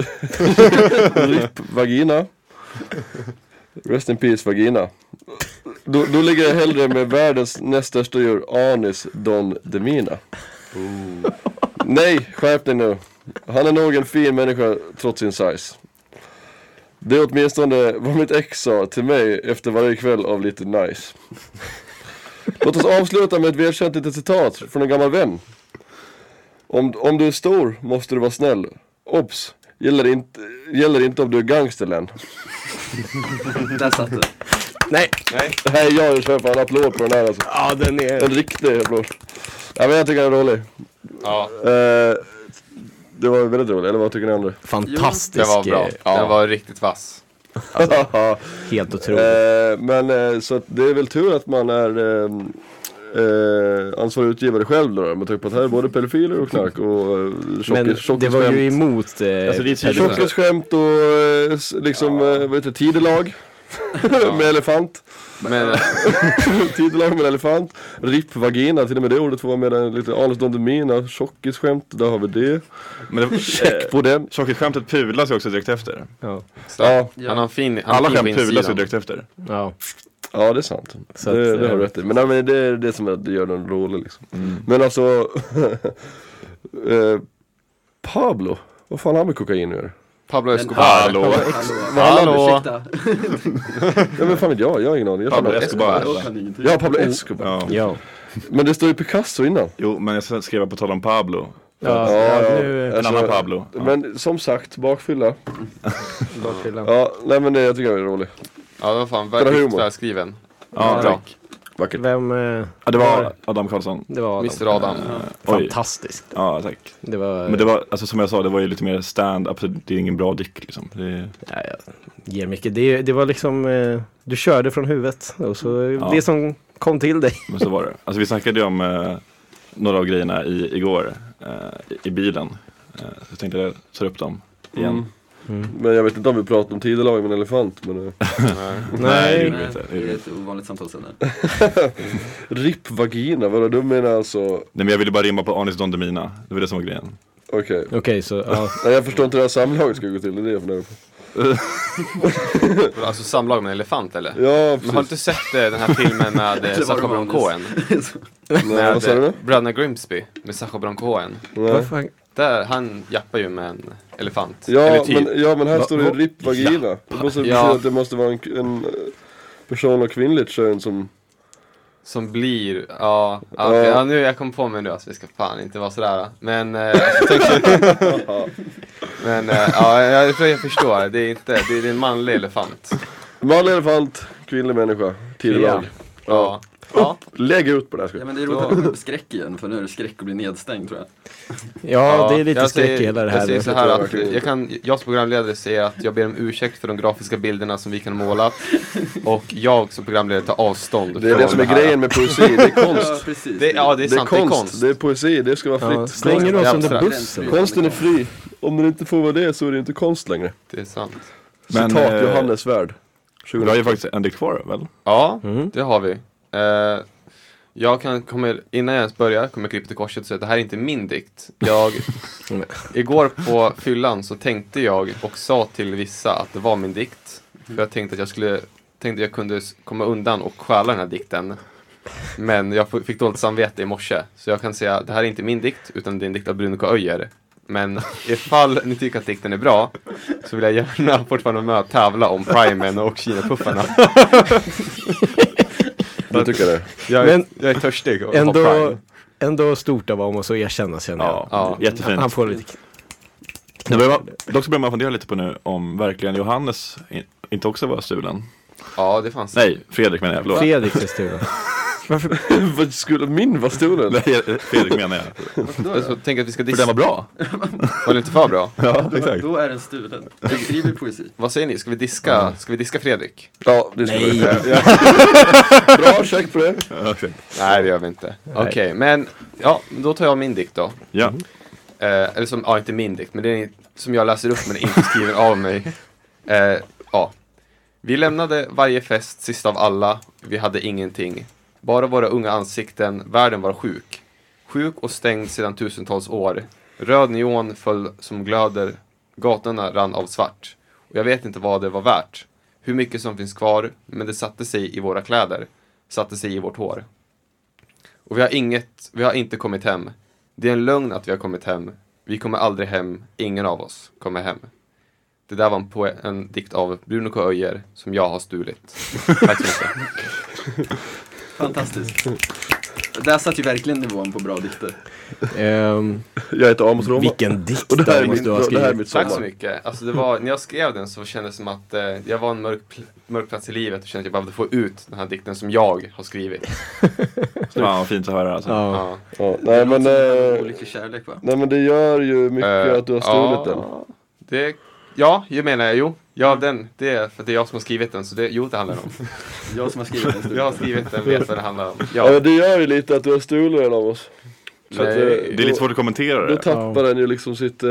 Speaker 3: RIP vagina Rest in peace vagina då, då ligger jag hellre med världens näst största djur Anis Don Demina Nej, skärp dig nu Han är nog en fin människa trots sin size Det är åtminstone vad mitt ex sa till mig efter varje kväll av lite nice Låt oss avsluta med ett välkänt litet citat från en gammal vän om, om du är stor måste du vara snäll. Obs! Gäller inte, gäller inte om du är gangster än.
Speaker 6: Där satt den.
Speaker 5: Nej,
Speaker 3: Nej, jag kör fan applåd på den här alltså.
Speaker 5: ja den
Speaker 3: En
Speaker 5: är...
Speaker 3: riktig applåd. Ja, men jag tycker den är rolig.
Speaker 2: Ja,
Speaker 3: Eh, det var väldigt roligt, eller vad tycker ni andra?
Speaker 5: Fantastisk.
Speaker 2: den var bra.
Speaker 5: eh, Ja,
Speaker 2: Den var riktigt vass.
Speaker 3: *laughs*
Speaker 5: Helt otrolig.
Speaker 3: Eh, men eh, så att det är väl tur att man är eh, eh, ansvarig utgivare själv då, då med tanke på att här är både pedofiler och knark och eh,
Speaker 5: Men
Speaker 3: tjockis- tjockisskämt.
Speaker 5: det var ju emot... Eh,
Speaker 4: Alltså, det är tydligt.
Speaker 5: Pelle.
Speaker 3: Tjockisskämt och eh, s- liksom, eh, vad heter
Speaker 5: *laughs*
Speaker 3: det, tidelag. med elefant.
Speaker 2: Men
Speaker 3: Tidelag med elefant. Rippvagina, till och med det ordet får vara med där. Lite anus Don Demina, tjockisskämt, där har vi det.
Speaker 4: Men det,
Speaker 3: Check på den.
Speaker 4: Tjockisskämtet pulas ju också direkt efter.
Speaker 5: ja.
Speaker 3: Ja,
Speaker 2: han har en fin, han
Speaker 4: Alla
Speaker 2: har
Speaker 4: skämt
Speaker 2: fin på
Speaker 4: pulas ju
Speaker 2: insidan.
Speaker 4: direkt efter.
Speaker 5: ja.
Speaker 3: ja det är sant.
Speaker 5: Så
Speaker 3: det,
Speaker 5: att,
Speaker 3: det har du
Speaker 5: eh,
Speaker 3: rätt i. Men, nej, men det är det som är- det gör den rolig liksom. Men alltså, *laughs* eh, Pablo, vad fan har han med kokain att göra?
Speaker 2: Pablo
Speaker 6: Men-
Speaker 2: Escobar.
Speaker 4: Hallå.
Speaker 6: Hallå.
Speaker 2: Hallå.
Speaker 6: Ursäkta.
Speaker 3: Ja men fan vet jag, jag har ingen aning. Jag tar
Speaker 4: Pablo
Speaker 3: med-
Speaker 4: Escobar.
Speaker 6: Jag kan ingenting.
Speaker 3: Ja, Pablo Escobar.
Speaker 4: Ja.
Speaker 5: Ja.
Speaker 3: Men det står ju Picasso innan.
Speaker 4: Jo, men jag skrev på tal om Pablo.
Speaker 5: Ja,
Speaker 3: Ja,
Speaker 5: ja,
Speaker 3: ja.
Speaker 5: nu...
Speaker 4: En annan Pablo. Ja.
Speaker 3: Men som sagt, bakfylla.
Speaker 5: Bakfyllan.
Speaker 3: Ja, nej men det jag tycker jag är rolig.
Speaker 2: Ja, det var fan
Speaker 3: Bra
Speaker 2: väldigt
Speaker 3: humor.
Speaker 2: välskriven.
Speaker 4: Ja,
Speaker 2: Bra.
Speaker 4: tack.
Speaker 3: Vackert.
Speaker 5: Vem? eh,
Speaker 4: Ja, det var Adam Karlsson.
Speaker 5: Det var Adam.
Speaker 2: Mr Adam.
Speaker 4: Oj.
Speaker 5: Fantastiskt.
Speaker 4: Ja, tack.
Speaker 5: Det var,
Speaker 4: Men det var, alltså som jag sa, det var ju lite mer stand-up, så det är ingen bra dick liksom. Det,
Speaker 5: ja, jag ger mycket. Det, det var liksom, eh, du körde från huvudet och så
Speaker 4: Ja.
Speaker 5: det som kom till dig.
Speaker 4: men så var det. Alltså vi snackade ju om eh, några av grejerna i, igår, eh, i, i bilen. Eh, så jag tänkte jag tar upp dem igen.
Speaker 3: Mm. Men jag vet inte om vi pratar om tidelag med en elefant men eh,
Speaker 4: det
Speaker 5: Nej.
Speaker 4: gjorde vi inte. Det
Speaker 6: det
Speaker 4: gjorde vi
Speaker 6: är
Speaker 4: inte.
Speaker 6: ett ovanligt samtalsämne.
Speaker 3: RIP vagina, vadå du menar alltså
Speaker 4: Nej men jag ville bara rimma på Anis Don Demina, det var det som var grejen.
Speaker 3: Okej
Speaker 5: Okej, så ja.
Speaker 3: Nej jag förstår inte hur det här samlaget ska gå till, det är det jag funderar på
Speaker 2: Alltså samlag med en elefant eller?
Speaker 3: Ja
Speaker 2: *laughs* Men har du
Speaker 3: precis,
Speaker 2: inte sett eh, den här filmen med eh,
Speaker 6: var
Speaker 2: Sacha Baron
Speaker 6: Romanes.
Speaker 2: Cohen?
Speaker 3: Nej, vad sa du nu?
Speaker 2: eh, Bröderna Grimsby med Sacha Baron Cohen.
Speaker 3: Nej.
Speaker 5: Vad fan?
Speaker 2: Där, han jappar ju med en elefant. Eller
Speaker 3: Ja,
Speaker 2: typ.
Speaker 3: men, ja men här står det ju
Speaker 5: va-
Speaker 3: RIP vagina Det måste betyda
Speaker 2: Ja.
Speaker 3: att det måste vara en, en eh, person av kvinnligt kön som
Speaker 2: Som blir, ja, ja, okej,
Speaker 3: Ja.
Speaker 2: ja nu jag kom på mig nu alltså, vi ska fan inte vara sådär. Men, eh, alltså, tänk,
Speaker 3: *laughs*
Speaker 2: men eh, ja, jag, tror jag förstår. Det är inte, det är en manlig elefant.
Speaker 3: Manlig elefant, kvinnlig människa, tidelag
Speaker 2: Ja. ja.
Speaker 3: Lägg ut på det här
Speaker 6: *laughs*
Speaker 3: ska
Speaker 6: Ja
Speaker 3: jag.
Speaker 6: men det är roligt att prata om skräck igen, för nu är det skräck att bli nedstängd tror jag.
Speaker 5: Ja, det är lite
Speaker 2: jag
Speaker 5: skräck
Speaker 2: säger-
Speaker 5: i hela det
Speaker 2: Jag säger så
Speaker 5: här.
Speaker 2: här
Speaker 3: Jag
Speaker 2: att
Speaker 3: tror verkligen
Speaker 2: jag, kan, jag som programledare säger att jag ber om ursäkt för de grafiska bilderna som vi kan ha målat. Och jag som programledare tar avstånd.
Speaker 3: Det är det
Speaker 2: från
Speaker 3: som är
Speaker 2: här.
Speaker 3: grejen med poesi, det är konst
Speaker 6: precis.
Speaker 2: Det, ja, det är
Speaker 3: Det är
Speaker 2: sant. Det är konst.
Speaker 3: konst, det är poesi, det ska vara
Speaker 5: Ja,
Speaker 3: fritt
Speaker 5: slänger du oss under
Speaker 2: Jävlar.
Speaker 5: bussen?
Speaker 3: Konsten är fri, om den inte får vara det så är det inte konst längre
Speaker 2: Det är sant.
Speaker 4: Men,
Speaker 3: Citat
Speaker 4: eh,
Speaker 3: Johannes Svärd
Speaker 4: Du har ju faktiskt en dikt kvar väl?
Speaker 2: Ja,
Speaker 5: Mm.
Speaker 2: det har vi. Eh, jag kan, kommer, innan jag ens börjar kommer jag krypa till korset och säga att det här är inte min dikt. Jag, igår på fyllan så tänkte jag och sa till vissa att det var min dikt. För jag tänkte att jag skulle, tänkte jag kunde s- komma undan och stjäla den här dikten. Men jag f- fick dåligt samvete i morse. Så jag kan säga att det här är inte min dikt, utan det är en dikt av Bruno K. Öijer. Men ifall ni tycker att dikten är bra så vill jag gärna fortfarande vara med och tävla om Primen och Kinapuffarna.
Speaker 3: Du tycker *laughs* det?
Speaker 2: Jag är,
Speaker 5: Men-
Speaker 2: jag är törstig och har
Speaker 5: Ändå,
Speaker 2: prime.
Speaker 5: ändå stort av honom att så erkänna känner jag.
Speaker 4: Ja,
Speaker 2: Ja.
Speaker 4: jättefint.
Speaker 5: Han får lite
Speaker 4: Nu börjar man, dock så börjar man fundera lite på nu om verkligen Johannes in, inte också var stulen.
Speaker 2: Ja, det fanns.
Speaker 4: Nej, Fredrik menar jag, förlåt.
Speaker 5: Fredrik *laughs* Christina. Varför?
Speaker 3: Vad skulle min vara stolen?
Speaker 4: *laughs* Nej, Fredrik menar jag.
Speaker 2: Jag så tänker att vi ska
Speaker 4: För den
Speaker 2: dissa.
Speaker 4: var bra.
Speaker 2: Var det inte för bra?
Speaker 4: Ja,
Speaker 6: Exakt. Då är den stulen. Jag skriver poesi.
Speaker 2: Vad säger ni? Ska vi diska, ska vi diska Fredrik?
Speaker 3: Ja, det skulle
Speaker 5: Nej.
Speaker 3: jag
Speaker 6: *laughs*
Speaker 3: säga. Bra, check på det.
Speaker 2: Nej, det gör vi inte. Okej, men ja, då tar jag min dikt då.
Speaker 4: Ja,
Speaker 2: Eh, eller som, ja inte min dikt, men det är som jag läser upp men inte skriver av mig. Eh, ja. Vi lämnade varje fest sist av alla, vi hade ingenting. Bara våra unga ansikten, världen var sjuk. Sjuk och stängd sedan tusentals år. Röd neon föll som glöder, gatorna rann av svart. Och jag vet inte vad det var värt, hur mycket som finns kvar, men det satte sig i våra kläder, satte sig i vårt hår. Och vi har inget, vi har inte kommit hem. Det är en lögn att vi har kommit hem. Vi kommer aldrig hem, ingen av oss kommer hem. Det där var en, poe- en dikt av Bruno K. Öijer som jag har stulit. Tack så
Speaker 3: *laughs*
Speaker 2: mycket.
Speaker 6: Fantastiskt. Där satt ju verkligen nivån på bra dikter.
Speaker 5: Ehm,
Speaker 3: Jag heter Amos Roma.
Speaker 5: vilken
Speaker 3: Och
Speaker 5: dikt
Speaker 3: det här,
Speaker 5: där
Speaker 3: är
Speaker 5: måste
Speaker 3: mitt,
Speaker 5: du ha
Speaker 3: det här är
Speaker 5: skrivit.
Speaker 3: mitt
Speaker 2: Tack så
Speaker 3: sommar.
Speaker 2: mycket. Alltså det var, när jag skrev den så kändes det som att eh, jag var en mörk, pl- mörk plats i livet och kände att jag behövde få ut den här dikten som jag har skrivit.
Speaker 4: fan vad fint att höra alltså.
Speaker 5: Ja.
Speaker 2: Ja.
Speaker 3: Ja, nej, men,
Speaker 6: äh...
Speaker 3: eh,
Speaker 6: Olycklig kärlek va?
Speaker 3: nej men det gör ju mycket
Speaker 2: Eh,
Speaker 3: att du har stulit den.
Speaker 2: ja, Det, ja, jag menar jag. Jo, ja, den. Det är för att det är jag som har skrivit den. Så det, jo, det handlar
Speaker 3: *laughs*
Speaker 2: det om.
Speaker 6: Jag som har skrivit den
Speaker 2: Jag har
Speaker 6: stulen.
Speaker 2: skrivit den, vet vad det handlar om.
Speaker 3: Ja. men
Speaker 2: Ja.
Speaker 3: det gör ju lite att du har stulit den av oss. Så att, eh,
Speaker 2: Nej,
Speaker 4: Det är lite
Speaker 3: då,
Speaker 4: svårt att kommentera
Speaker 3: då
Speaker 4: det.
Speaker 3: tappar den ju liksom sitt eh,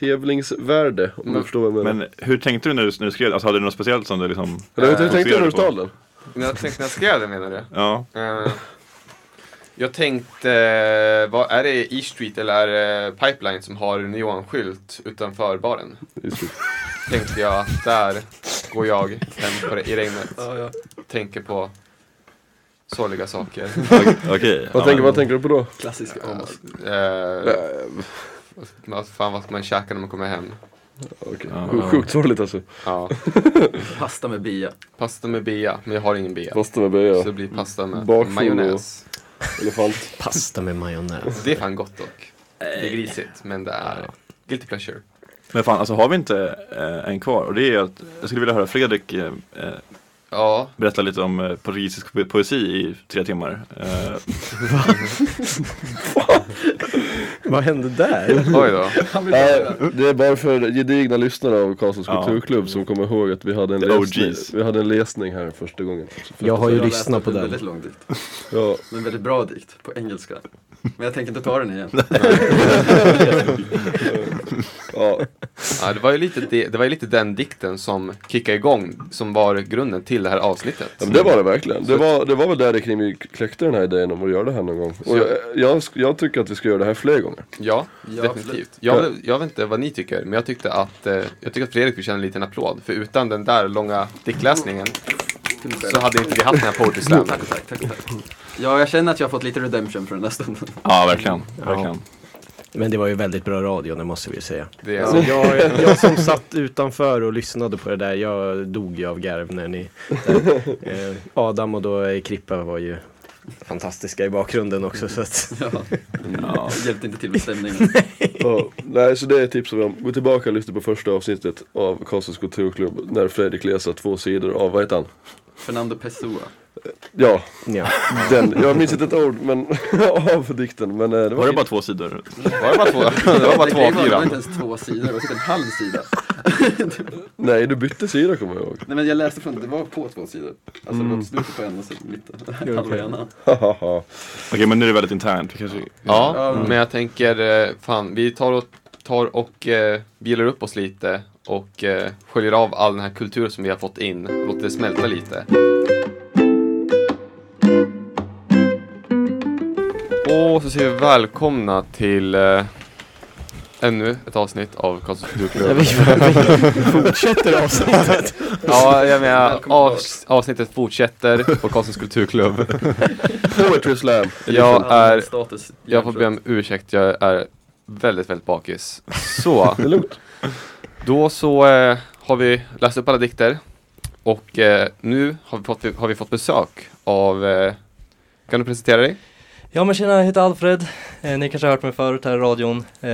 Speaker 3: tävlingsvärde om du
Speaker 2: Men-
Speaker 3: förstår vad jag menar.
Speaker 4: Men hur tänkte du när du, när du skrev det? Alltså hade du något speciellt som du liksom
Speaker 3: Eller hur hur tänkte du
Speaker 4: fokuserade
Speaker 3: när du
Speaker 4: på?
Speaker 3: stal den?
Speaker 2: När jag tänkte när jag skrev den menar du?
Speaker 4: Ja,
Speaker 2: Eh, jag tänkte, eh, vad, är det E Street eller är det Pipeline som har neonskylt utanför baren? Tänkte jag att där går jag hem på det, i regnet. Tänker på sorgliga saker.
Speaker 4: okej. Ja,
Speaker 3: Vad, tänker,
Speaker 4: men-
Speaker 3: vad tänker du på då?
Speaker 6: Klassisk Amos.
Speaker 2: Eh, vad fan vad ska man käka när man kommer hem?
Speaker 3: Okej.
Speaker 4: Ja.
Speaker 3: Sj- Sjukt sorgligt alltså.
Speaker 2: Ja,
Speaker 6: Pasta med bia.
Speaker 2: pasta med bea, men jag har ingen bea.
Speaker 3: Fast med böja,
Speaker 2: Så det blir pasta med
Speaker 3: Bakfull
Speaker 2: majonnäs.
Speaker 3: elefant.
Speaker 5: *laughs* Pasta med majonnäs.
Speaker 2: Det är fan gott dock. Det är grisigt, men det är guilty pleasure.
Speaker 4: Men fan, alltså har vi inte eh, en kvar? Och det är ju att jag skulle vilja höra Fredrik eh, eh,
Speaker 2: Ja,
Speaker 4: berätta lite om eh, portugisisk po- poesi i tre timmar. Eh,
Speaker 5: Vad hände där?
Speaker 2: oj då.
Speaker 3: Nej, *laughs* det är bara för gedigna lyssnare av Karlstads
Speaker 4: Ja.
Speaker 3: kulturklubb som kommer ihåg att vi hade en
Speaker 4: The
Speaker 3: läsning,
Speaker 4: OGs.
Speaker 3: vi hade en läsning här första gången.
Speaker 5: Jag har ju
Speaker 6: har läst
Speaker 5: lyssnat på
Speaker 6: en
Speaker 5: den.
Speaker 6: väldigt lång dikt.
Speaker 3: Ja,
Speaker 6: Men väldigt bra dikt, på engelska. Men jag tänker inte ta den igen.
Speaker 3: ja.
Speaker 2: Ja, det, var ju lite det, det var ju lite den dikten som kickade igång, som var grunden till det här avsnittet.
Speaker 3: Ja, men det var det verkligen. Det var, det var väl där det kring vi kläckte den här idén om att göra det här någon gång. Och jag, jag, sk- jag tycker att vi ska göra det här fler gånger.
Speaker 2: Ja,
Speaker 6: Ja,
Speaker 2: definitivt.
Speaker 6: absolut.
Speaker 2: Jag, jag vet inte vad ni tycker, men jag tyckte att, eh, jag tycker att Fredrik förtjänar en liten applåd. För utan den där långa diktläsningen
Speaker 6: Till mig själv.
Speaker 2: så hade inte vi haft den här Poetry
Speaker 6: *laughs*
Speaker 2: Slam.
Speaker 6: Tack, tack, tack, tack. Ja, jag känner att jag har fått lite redemption för den här stunden. *laughs*
Speaker 4: ja, verkligen. verkligen.
Speaker 5: Men det var ju väldigt bra radio, det måste vi ju säga.
Speaker 2: Det,
Speaker 5: Alltså, jag, jag som satt utanför och lyssnade på det där, jag dog ju av garv när ni... Eh, Adam och då eh, Krippa var ju fantastiska i bakgrunden också så att...
Speaker 6: Ja,
Speaker 4: Ja.
Speaker 6: det hjälpte inte till
Speaker 2: *laughs*
Speaker 6: med stämningen.
Speaker 3: Ja, nej, så det är tipset vi har. Gå tillbaka och lyssna på första avsnittet av Karlstads kulturklubb när Fredrik läser två sidor av, vad heter han?
Speaker 6: Fernando Pessoa.
Speaker 3: Ja,
Speaker 5: *laughs* Ja.
Speaker 3: den. Jag minns inte ett ord men, *laughs* av dikten. Men eh, det
Speaker 4: Var
Speaker 3: var,
Speaker 4: det bara två
Speaker 3: *laughs*
Speaker 4: sidor?
Speaker 2: var det bara två, det var bara två
Speaker 6: det var, det var
Speaker 2: A4.
Speaker 6: inte ens två sidor, det var typ en halv sida.
Speaker 3: Nej, du bytte sida kommer jag ihåg.
Speaker 6: Nej men jag läste från, det var på två sidor. Alltså
Speaker 2: Mm.
Speaker 6: det var slutet på en och sen
Speaker 2: *laughs*
Speaker 6: mitten, halva
Speaker 5: okej.
Speaker 6: ena.
Speaker 3: Hahaha.
Speaker 4: Okej, men nu är det väldigt internt. Vi kanske...
Speaker 2: Ja, men jag tänker, eh, fan, vi tar och, tar och eh, bilar upp oss lite och eh, sköljer av all den här kulturen som vi har fått in och låter det smälta lite. Och så säger vi välkomna till eh, ännu ett avsnitt av Karlstads kulturklubb.
Speaker 5: Fortsätter avsnittet!
Speaker 2: *laughs* Ja, jag menar,
Speaker 6: Välkommen
Speaker 2: av, avsnittet fortsätter på Karlstads kulturklubb.
Speaker 3: Poetry slam.
Speaker 2: *laughs* Jag är,
Speaker 6: Status,
Speaker 2: jag får be om ursäkt, jag är väldigt, väldigt bakis. Så.
Speaker 3: *laughs* Det är lugnt.
Speaker 2: Då så eh, har vi läst upp alla dikter och eh, nu har vi fått, har vi fått besök av, eh, kan du presentera dig?
Speaker 7: Ja men tjena, jag heter Alfred. Eh, ni kanske har hört mig förut här i radion. Eh,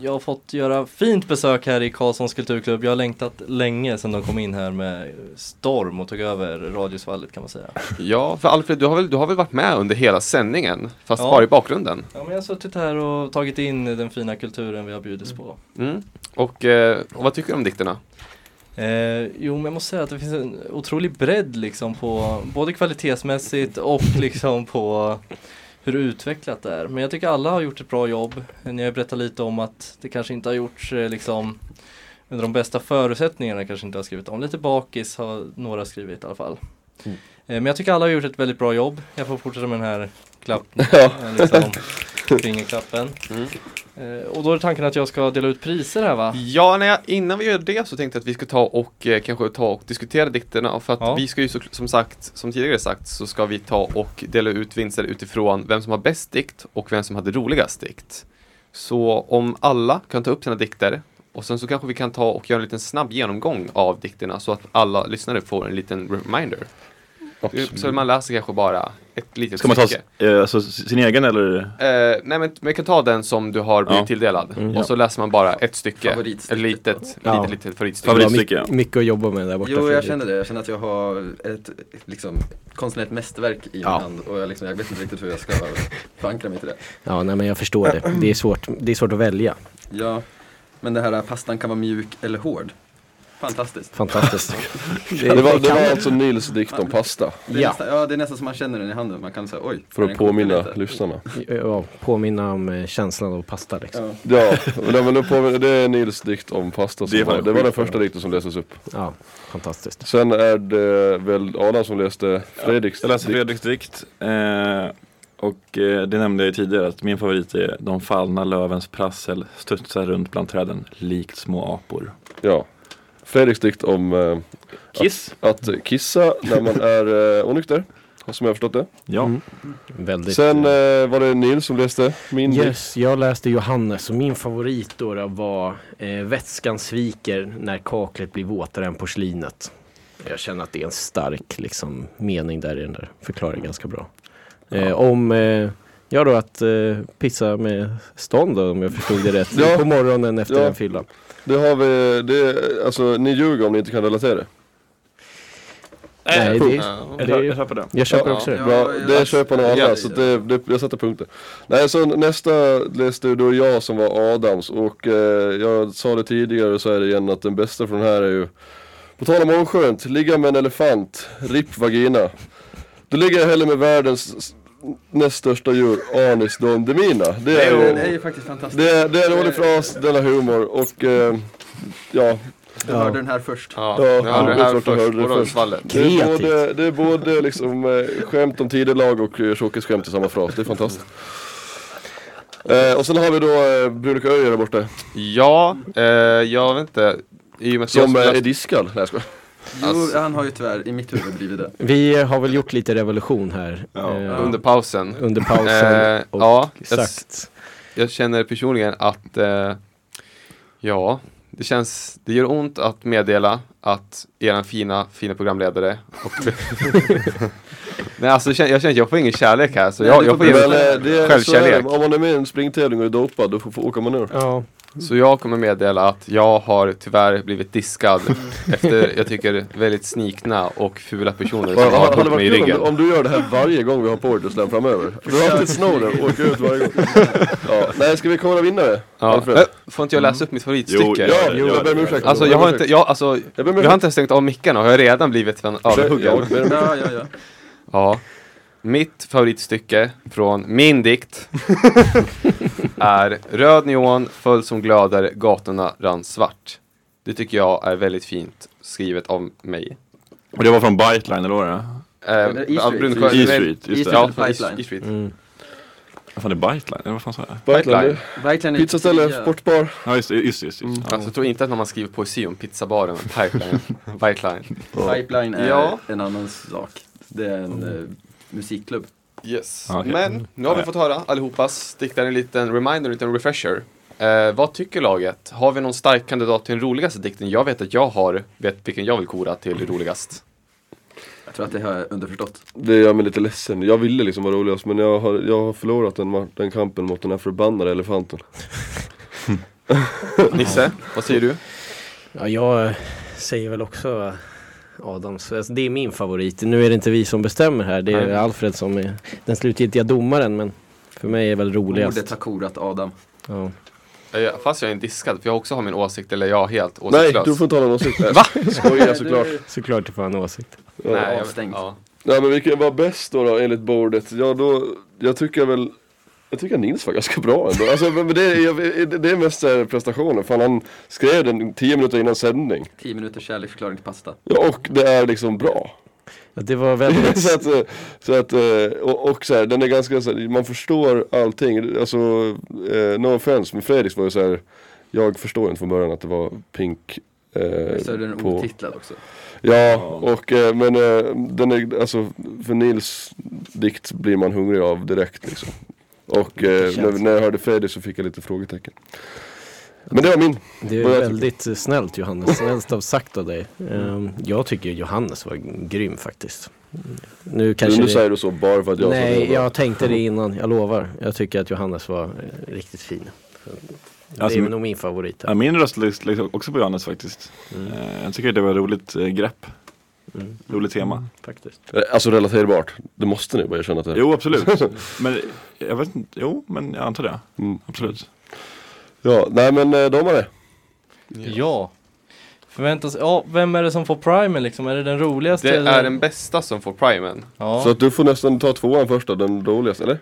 Speaker 7: jag har fått göra fint besök här i Karlssons kulturklubb. Jag har längtat länge sedan de kom in här med storm och tog över radiosvallet kan man säga.
Speaker 2: Ja, för Alfred, du har väl, du har väl varit med under hela sändningen, fast
Speaker 7: Ja.
Speaker 2: bara i bakgrunden?
Speaker 7: Ja men jag har suttit här och tagit in den fina kulturen vi har bjudits på.
Speaker 2: Mm. Och, eh, och vad tycker du om dikterna?
Speaker 7: Eh, jo men jag måste säga att det finns en otrolig bredd liksom på både kvalitetsmässigt och liksom på hur utvecklat det är. Men jag tycker alla har gjort ett bra jobb. Ni har ju berättat lite om att det kanske inte har gjorts eh, liksom under de bästa förutsättningarna kanske inte har skrivit om. Lite bakis har några skrivit i alla fall.
Speaker 2: Mm.
Speaker 7: Eh, men jag tycker alla har gjort ett väldigt bra jobb. Jag får fortsätta med den här klapp,
Speaker 2: *laughs*
Speaker 7: eh, liksom, fingerklappen.
Speaker 2: Mm.
Speaker 7: Eh, och då är tanken att jag ska dela ut priser här va?
Speaker 2: Ja, nej, innan vi gör det så tänkte jag att vi ska ta och eh, kanske ta och diskutera dikterna för att
Speaker 7: Ja.
Speaker 2: vi ska ju så, som sagt, som tidigare sagt, så ska vi ta och dela ut vinster utifrån vem som har bäst dikt och vem som hade roligast dikt. Så om alla kan ta upp sina dikter och sen så kanske vi kan ta och göra en liten snabb genomgång av dikterna så att alla lyssnare får en liten reminder. Så man läser kanske bara ett litet
Speaker 4: Ska man ta s-
Speaker 2: stycke.
Speaker 4: eh, alltså, sin egen eller?
Speaker 2: Eh, nej men vi kan ta den som du har blivit
Speaker 4: Ja.
Speaker 2: tilldelad och så läser man bara ett stycke, ett
Speaker 6: Favoritstycket.
Speaker 2: litet,
Speaker 5: Ja.
Speaker 2: litet, litet favoritstycke.
Speaker 5: Det var
Speaker 4: Favoritstycke, ja.
Speaker 5: my- mycket att jobba med där borta.
Speaker 6: Jo, jag
Speaker 5: Fredrik.
Speaker 6: känner det. Jag känner att jag har ett liksom, konstnärligt mästerverk i min hand och jag, liksom, jag vet inte riktigt hur jag ska förankra mig till det.
Speaker 5: Ja, nej men jag förstår det. Det är svårt, det är svårt att välja.
Speaker 6: Ja, men det här äh, pastan kan vara mjuk eller hård. Fantastiskt.
Speaker 5: Fantastiskt.
Speaker 3: *laughs* Det var, det var alltså Nils dikt om pasta.
Speaker 6: Det är,
Speaker 5: Ja.
Speaker 6: nästan, ja, det är nästan som man känner den i handen. Man kan säga oj.
Speaker 3: För
Speaker 6: den
Speaker 3: att
Speaker 6: kokar
Speaker 3: påminna
Speaker 6: lite.
Speaker 3: lyssnarna.
Speaker 5: Ja, påminna om eh, känslan av pasta liksom.
Speaker 6: Ja.
Speaker 3: *laughs* Ja, men men då påminner- det är Nils dikt om pasta.
Speaker 4: Det
Speaker 3: Som
Speaker 4: är
Speaker 3: det,
Speaker 4: fan
Speaker 3: var, det var den
Speaker 4: sjukt.
Speaker 3: första dikten som lästes upp.
Speaker 5: Ja, fantastiskt.
Speaker 3: Sen är det väl Adam som läste Fredriks
Speaker 4: Jag läste
Speaker 3: dikt.
Speaker 4: Fredriks dikt eh, och eh, det nämnde jag ju tidigare att min favorit är De fallna lövens prassel studsar runt bland träden likt små apor.
Speaker 3: Ja. Fredriks dikt om eh,
Speaker 4: Kiss?
Speaker 3: att kissa när man är eh, onykter. Som jag har förstått det.
Speaker 4: Ja.
Speaker 5: Mm. Väldigt.
Speaker 3: Sen
Speaker 5: eh,
Speaker 3: eh, var det Nils som läste min dikt.
Speaker 5: Yes, jag läste Johannes och min favorit då då var eh, Vätskan sviker när kaklet blir våtare än porslinet. Jag känner att det är en stark liksom, mening där i den där förklaringen ganska bra. Eh, om, eh, ja då att eh, pissa med stånd då, om jag förstod det rätt,
Speaker 3: Ja.
Speaker 5: på morgonen efter
Speaker 3: Ja.
Speaker 5: en fylla.
Speaker 3: Det har vi, det, alltså ni ljuger om ni inte kan relatera.
Speaker 5: Nej, det,
Speaker 2: Ja.
Speaker 4: Jag
Speaker 5: Det är-
Speaker 4: kör- jag kör på den.
Speaker 5: jag köper
Speaker 2: Ja.
Speaker 5: också det.
Speaker 3: Bra,
Speaker 6: jag-
Speaker 3: det köper nog alla
Speaker 2: Ja,
Speaker 3: så det, det, jag sätter punkter. Nej så nästa läste ju då jag som var Adams och eh, jag sa det tidigare och säger det igen att den bästa från den här är ju På tal om oskönt, ligga med en elefant, ripp vagina. Då ligger jag hellre med världens s- näst största djur, Anis Don Demina. Det är
Speaker 6: Den är
Speaker 3: ju
Speaker 6: ju faktiskt fantastisk.
Speaker 3: det är, det är en rolig fras, den har humor och eh, ja,
Speaker 6: Du hörde den här först.
Speaker 2: Ja,
Speaker 3: Ja,
Speaker 2: jag hörde det
Speaker 3: det är
Speaker 2: här
Speaker 3: klart du
Speaker 2: först.
Speaker 3: hörde det
Speaker 2: Och då
Speaker 3: först.
Speaker 2: svallet.
Speaker 3: det är
Speaker 5: Kreativt.
Speaker 3: både, det är både liksom eh, skämt om tidelag och eh, tjockisskämt i samma fras, det är fantastiskt. Eh, och sen har vi då eh, Bruno Öijer där borta,
Speaker 2: Ja, eh, jag vet inte. I och med att jag
Speaker 3: som eh,
Speaker 2: spelar-
Speaker 3: är diskad. Nej jag skojar. Alltså.
Speaker 6: Jo, han har ju tyvärr i mitt huvud blivit det.
Speaker 3: *laughs*
Speaker 5: Vi har väl gjort lite revolution här
Speaker 4: Ja.
Speaker 5: eh,
Speaker 2: under pausen.
Speaker 5: under pausen.
Speaker 2: Eh,
Speaker 5: och
Speaker 2: ja, jag, s-
Speaker 5: Exakt.
Speaker 2: jag känner personligen att eh, ja, det känns, det gör ont att meddela att eran fina, fina programledare och
Speaker 3: *laughs*
Speaker 2: Nej alltså jag känner, jag känner att jag får ingen kärlek här så
Speaker 6: Nej,
Speaker 2: jag,
Speaker 6: du
Speaker 2: jag får
Speaker 6: får
Speaker 2: ge
Speaker 6: väl,
Speaker 2: mig
Speaker 3: Men eh, det är så är
Speaker 2: självkärlek.
Speaker 3: det. om man är med i en springtävling och är dopad då får, får åker man ur.
Speaker 5: Ja.
Speaker 2: Så jag kommer meddela att jag har tyvärr blivit diskad efter, jag tycker, väldigt snikna och fula personer som
Speaker 3: Vad-
Speaker 2: har
Speaker 3: hade
Speaker 2: hållit mig i
Speaker 3: varit kul om,
Speaker 2: ryggen.
Speaker 3: du- om du gör det här varje gång vi har Portislam framöver. Du har alltid snor åker ut varje gång. Ja. Nej, ska vi kolla vinnare?
Speaker 2: Ja.
Speaker 3: Alfred?
Speaker 2: Äh, Får inte jag läsa upp mitt favoritstycke?
Speaker 4: Jo,
Speaker 3: Ja,
Speaker 4: Jo,
Speaker 3: jag ber om ursäkt.
Speaker 2: Alltså jag har inte, jag, alltså,
Speaker 3: Jag ber om
Speaker 2: vi har
Speaker 3: ursäkt.
Speaker 2: inte ens stängt av mickarna och jag har redan blivit en
Speaker 3: Jag
Speaker 2: överhuggen.
Speaker 3: ber om ursäkt.
Speaker 6: Ja, ja, ja.
Speaker 2: Ja. Mitt favoritstycke från min dikt är Röd neon föll som glöder, gatorna rann svart. Det tycker jag är väldigt fint skrivet av mig.
Speaker 4: Och det var från Biteline, eller vad var det?
Speaker 2: Eh,
Speaker 6: Eller E
Speaker 2: av
Speaker 6: Street.
Speaker 2: Bruno Sjöberg.
Speaker 4: E Street, just det.
Speaker 2: Ja,
Speaker 6: Pipeline. Mm.
Speaker 2: E- E Street.
Speaker 4: Vad fan är Biteline? Eller vad fan sa jag?
Speaker 3: Biteline.
Speaker 6: Verkligen inte-
Speaker 3: Pizzaställe, sportbar.
Speaker 4: Ja, just det, just, just, just.
Speaker 2: Alltså, jag tror inte att när man skriver poesi om pizzabaren,
Speaker 6: *laughs*
Speaker 2: pipeline, pipeline.
Speaker 6: Pipeline är
Speaker 2: Ja.
Speaker 6: en annan sak. Det är en eh, musikklubb.
Speaker 2: Yes.
Speaker 4: Okej.
Speaker 2: Men nu har vi fått höra allihopas diktar en liten reminder, en liten refresher. Eh, vad tycker laget? Har vi någon stark kandidat till den roligaste dikten? Jag vet att jag har, vet vilken jag vill kora till roligast.
Speaker 6: Jag tror att det har jag underförstått.
Speaker 3: Det gör mig lite ledsen. Jag ville liksom vara roligast men jag har, jag har förlorat den, ma- den kampen mot den här förbannade elefanten.
Speaker 2: Nisse, vad säger du?
Speaker 5: Ja, jag säger väl också Adams. Alltså, det är min favorit. Nu är det inte vi som bestämmer här. Det är
Speaker 2: Nej.
Speaker 5: Alfred som är den slutgiltiga domaren. Men för mig är väl roligast.
Speaker 6: Ordet har korat Adam.
Speaker 5: Ja.
Speaker 2: Eh, Fast jag är en diskad, för jag också har min åsikt, eller jag är helt
Speaker 3: Nej,
Speaker 2: åsiktslös.
Speaker 3: du får inte ha någon åsikt. Nej,
Speaker 2: Va?
Speaker 3: Skojar såklart.
Speaker 5: Såklart du får en åsikt.
Speaker 2: Nej, jag,
Speaker 6: Avstängd.
Speaker 2: ja.
Speaker 3: Nej men vilken var bäst då, då enligt bordet? Ja då, jag tycker väl jag tycker Nils var ganska bra ändå. Alltså, men men det, är- jag, det är mest så här prestationen. Fan han skrev den 10 minuter innan sändning.
Speaker 6: 10 minuters kärleksförklaring till pasta.
Speaker 3: Ja, och det är liksom bra.
Speaker 5: Ja, det var
Speaker 2: *laughs*
Speaker 5: väldigt...
Speaker 3: *laughs* så att, eh, så att eh, och, och så här, den är ganska så här, man förstår allting. Alltså, eh, no offense, men Fredriks var ju så här, jag förstår inte från början att det var pink. eh,
Speaker 6: Så är den
Speaker 3: på-
Speaker 6: otitlad också.
Speaker 3: Ja, och eh, men eh, den är, alltså för Nils dikt blir man hungrig av direkt liksom. Och eh, när, när jag hörde Fredrik så fick jag lite frågetecken. Men det var min.
Speaker 5: Det är
Speaker 3: Vad jag
Speaker 5: väldigt snällt Johannes, snällt av sagt av dig. Ehm, Jag tycker Johannes var grym faktiskt. Nu
Speaker 3: Nu,
Speaker 5: kanske
Speaker 3: nu
Speaker 5: det-
Speaker 3: säger du så bara för att jag sa det var
Speaker 5: Nej,
Speaker 3: bra.
Speaker 5: jag tänkte det innan, jag lovar. Jag tycker att Johannes var eh, riktigt fin. Det
Speaker 4: Alltså,
Speaker 5: är nog min favorit.
Speaker 4: Ja,
Speaker 5: Här.
Speaker 4: min röst läggs läggs också på Johannes faktiskt. Eh, Jag tycker det var ett roligt eh, grepp.
Speaker 5: Mm.
Speaker 4: Roligt tema.
Speaker 5: Faktiskt.
Speaker 3: Eh, Alltså relaterbart. Det måste ni bara erkänna att det är.
Speaker 4: Jo, absolut. Men jag vet inte, jo, men jag antar det.
Speaker 3: Mm.
Speaker 4: Absolut.
Speaker 3: Ja, nej men eh, domare.
Speaker 7: Ja. Förväntas, ja, vem är det som får primen liksom? Är det den roligaste?
Speaker 2: Det
Speaker 7: eller-
Speaker 2: är den bästa som får primen.
Speaker 7: Ja,
Speaker 3: Så att du får nästan ta tvåan först då, den dåligaste eller?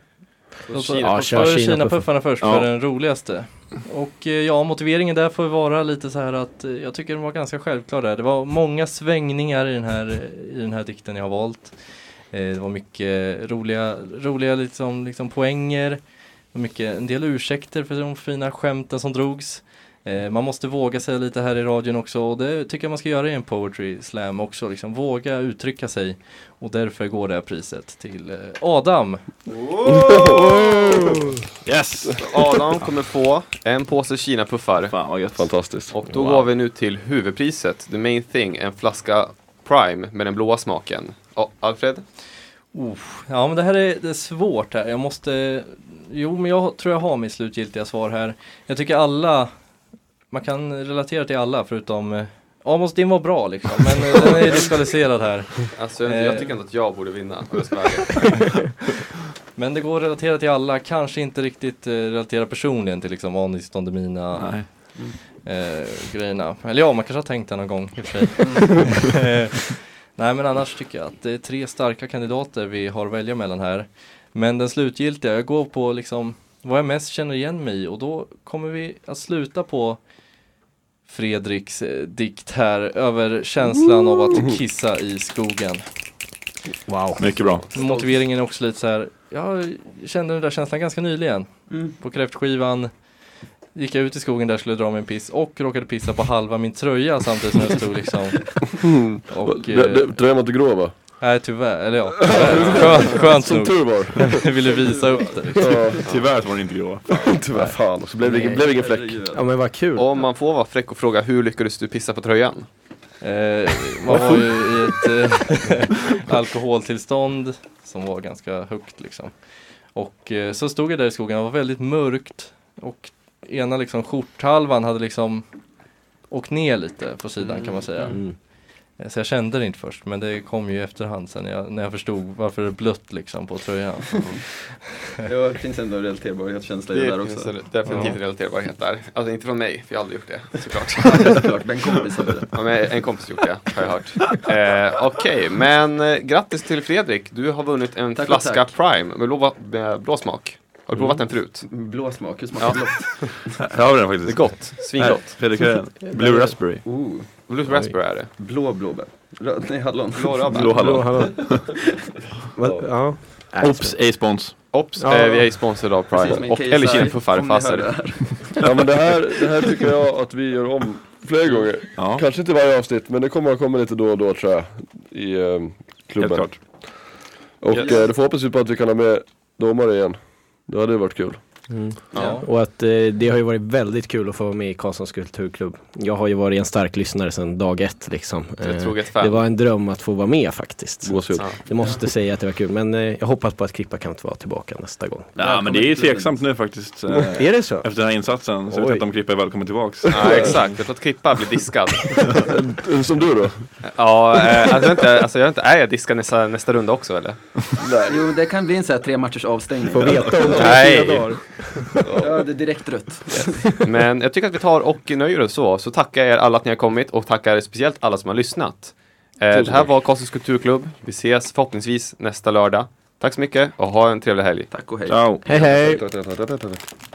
Speaker 7: låt oss-
Speaker 2: Kina.
Speaker 5: Ja,
Speaker 7: Ta
Speaker 5: kör Kina på
Speaker 7: Kina-puffarna först
Speaker 4: Ja.
Speaker 7: för den roligaste. Och eh, ja, motiveringen där får ju vara lite så här att eh, jag tycker den var ganska självklar där. Det var många svängningar i den här, eh, i den här dikten jag har valt. Eh, Det var mycket roliga, roliga liksom, liksom poänger, och mycket, en del ursäkter för de fina skämten som drogs. Eh, Man måste våga säga lite här i radion också och det tycker jag man ska göra i en poetry slam också. Liksom våga uttrycka sig och därför går det här priset till eh, Adam.
Speaker 4: Yes!
Speaker 2: Adam kommer få en påse Kina-puffar.
Speaker 4: Fan vad gött.
Speaker 3: Fantastiskt.
Speaker 2: Och då
Speaker 4: Wow.
Speaker 2: går vi nu till huvudpriset, the main thing, en flaska Prime med den blåa smaken. Ja, Alfred?
Speaker 7: Ja men det här är, det är svårt här. Jag måste Jo men jag tror jag har mitt slutgiltiga svar här. Jag tycker alla Man kan relatera till alla förutom eh, Amos, din var bra liksom, men eh, den är ju diskvalificerad här.
Speaker 2: Alltså, jag, jag
Speaker 7: Eh.
Speaker 2: tycker inte att jag borde vinna, om jag ska vara ärlig.
Speaker 7: Men det går att relatera till alla, kanske inte riktigt eh, relatera personligen till liksom Anis Don Demina
Speaker 4: Nej.
Speaker 7: eh, grejerna. Eller ja, man kanske har tänkt det någon gång i och för sig. Eh, *laughs* Nej men annars tycker jag att det är tre starka kandidater vi har att välja mellan här. Men den slutgiltiga, jag går på liksom vad jag mest känner igen mig i och då kommer vi att sluta på Fredriks eh, dikt här över känslan av att kissa i skogen.
Speaker 5: Wow.
Speaker 4: Mycket bra.
Speaker 7: Motiveringen är också lite så här. Jag kände den där känslan ganska nyligen. På kräftskivan gick jag ut i skogen där skulle dra mig en piss och råkade pissa på halva min tröja samtidigt som jag stod liksom. Och,
Speaker 3: Det-
Speaker 7: eh,
Speaker 3: det- Tröjan var inte grå va?
Speaker 7: nej tyvärr, eller ja, tyvärr. skönt, skönt
Speaker 3: Som
Speaker 7: nog.
Speaker 3: tur var.
Speaker 7: Jag ville visa upp det.
Speaker 3: Ja,
Speaker 4: Tyvärr så var den inte grå.
Speaker 3: tyvärr. Fan, så blev det ingen- blev det ingen fläck.
Speaker 5: Ja men vad kul.
Speaker 2: Om man får vara fräck och fråga, hur lyckades du pissa på tröjan?
Speaker 7: Eh, man var ju i ett eh, *laughs* alkoholtillstånd som var ganska högt liksom. Och eh, så stod jag där i skogen, det var väldigt mörkt och ena liksom skjorthalvan hade liksom åkt ner lite på sidan kan man säga.
Speaker 5: Mm.
Speaker 7: Eh, Så jag kände det inte först men det kom ju i efterhand sen när jag, när jag förstod varför det är blött liksom på tröjan.
Speaker 6: Ja, det finns ändå en relaterbarhetskänsla i det där också. *laughs*
Speaker 2: finns definitivt relaterbarhet där. Alltså inte från mig, för jag har aldrig gjort det,
Speaker 6: *laughs*
Speaker 2: såklart.
Speaker 6: Såklart, men kompis hade det.
Speaker 2: Ja, men en kompis gjort det, har jag hört. Eh, Okej, men eh, grattis till Fredrik. Du har vunnit en
Speaker 6: Tack och
Speaker 2: flaska
Speaker 6: tack. Mm.
Speaker 2: Prime med blå, med blå smak. eh, Har du provat den förut?
Speaker 6: Blå smak, hur smakar blått?
Speaker 4: Här har vi den faktiskt.
Speaker 2: Det är gott,
Speaker 4: Nej,
Speaker 2: svingott.
Speaker 4: Fredrik, vad är
Speaker 2: *laughs*
Speaker 4: den? Blue Raspberry.
Speaker 6: Oh,
Speaker 2: Blue raspberry är det.
Speaker 6: blå blåbär. Röd, nej, hallon.
Speaker 2: Blå rödbär.
Speaker 4: Blå
Speaker 5: Hallå,
Speaker 4: hallon.
Speaker 5: hallå. Vad- Ja.
Speaker 4: Oops, ej spons.
Speaker 2: Ops,
Speaker 5: Ja.
Speaker 2: eh, vi är sponsrade av
Speaker 6: Precis som
Speaker 2: Prime.
Speaker 6: en
Speaker 2: Och
Speaker 6: KSI,
Speaker 2: eller
Speaker 6: om ni hör det
Speaker 2: chilipuffar,
Speaker 6: här.
Speaker 3: Ja men det här, det här tycker jag att vi gör om fler gånger.
Speaker 4: Ja,
Speaker 3: Kanske inte varje avsnitt men det kommer att komma lite då och då tror jag. I eh,
Speaker 4: helt
Speaker 3: klubben.
Speaker 4: klart.
Speaker 3: Och
Speaker 2: Yes.
Speaker 3: eh, då hoppas vi på att vi kan ha med domare igen. Det hade ju varit kul.
Speaker 5: Mm.
Speaker 2: Ja.
Speaker 5: Och att eh, det har ju varit väldigt kul att få vara med i Karlssons kulturklubb. Jag har ju varit en stark lyssnare sedan dag ett liksom.
Speaker 2: Ett
Speaker 5: Eh,
Speaker 2: troget fan.
Speaker 5: det var en dröm att få vara med faktiskt.
Speaker 3: Gåshud.
Speaker 2: Ja.
Speaker 5: Jag måste säga att det var kul, men eh, jag hoppas på att Klippa kan vara tillbaka nästa gång.
Speaker 4: Ja, men det är ju tveksamt nu faktiskt. eh,
Speaker 2: *laughs*
Speaker 5: Är det så?
Speaker 4: Efter den här insatsen, så jag vet
Speaker 5: Oj.
Speaker 4: inte om Klippa är välkommen tillbaks.
Speaker 2: Ja, exakt. Jag tror att Klippa blir diskad.
Speaker 3: Eh, Som du då?
Speaker 2: Ja, eh, alltså, jag vet inte, alltså jag vet inte, är jag diskad nästa, nästa runda också eller?
Speaker 6: Jo, men det kan bli en sån här tre matchers avstängning.
Speaker 5: Får veta *laughs* om
Speaker 2: Nej.
Speaker 5: fyra dagar.
Speaker 6: Ja, det är direkt rött.
Speaker 2: Men jag tycker att vi tar och nöjer oss så. Så tackar jag er alla att ni har kommit och tackar speciellt alla som har lyssnat. Eh, det här var Karlstads kulturklubb. Vi ses förhoppningsvis nästa lördag. Tack så mycket och ha en trevlig helg.
Speaker 6: Tack och hej.
Speaker 4: Ciao.
Speaker 5: Hej hej!
Speaker 3: Tack, tack, tack, tack, tack.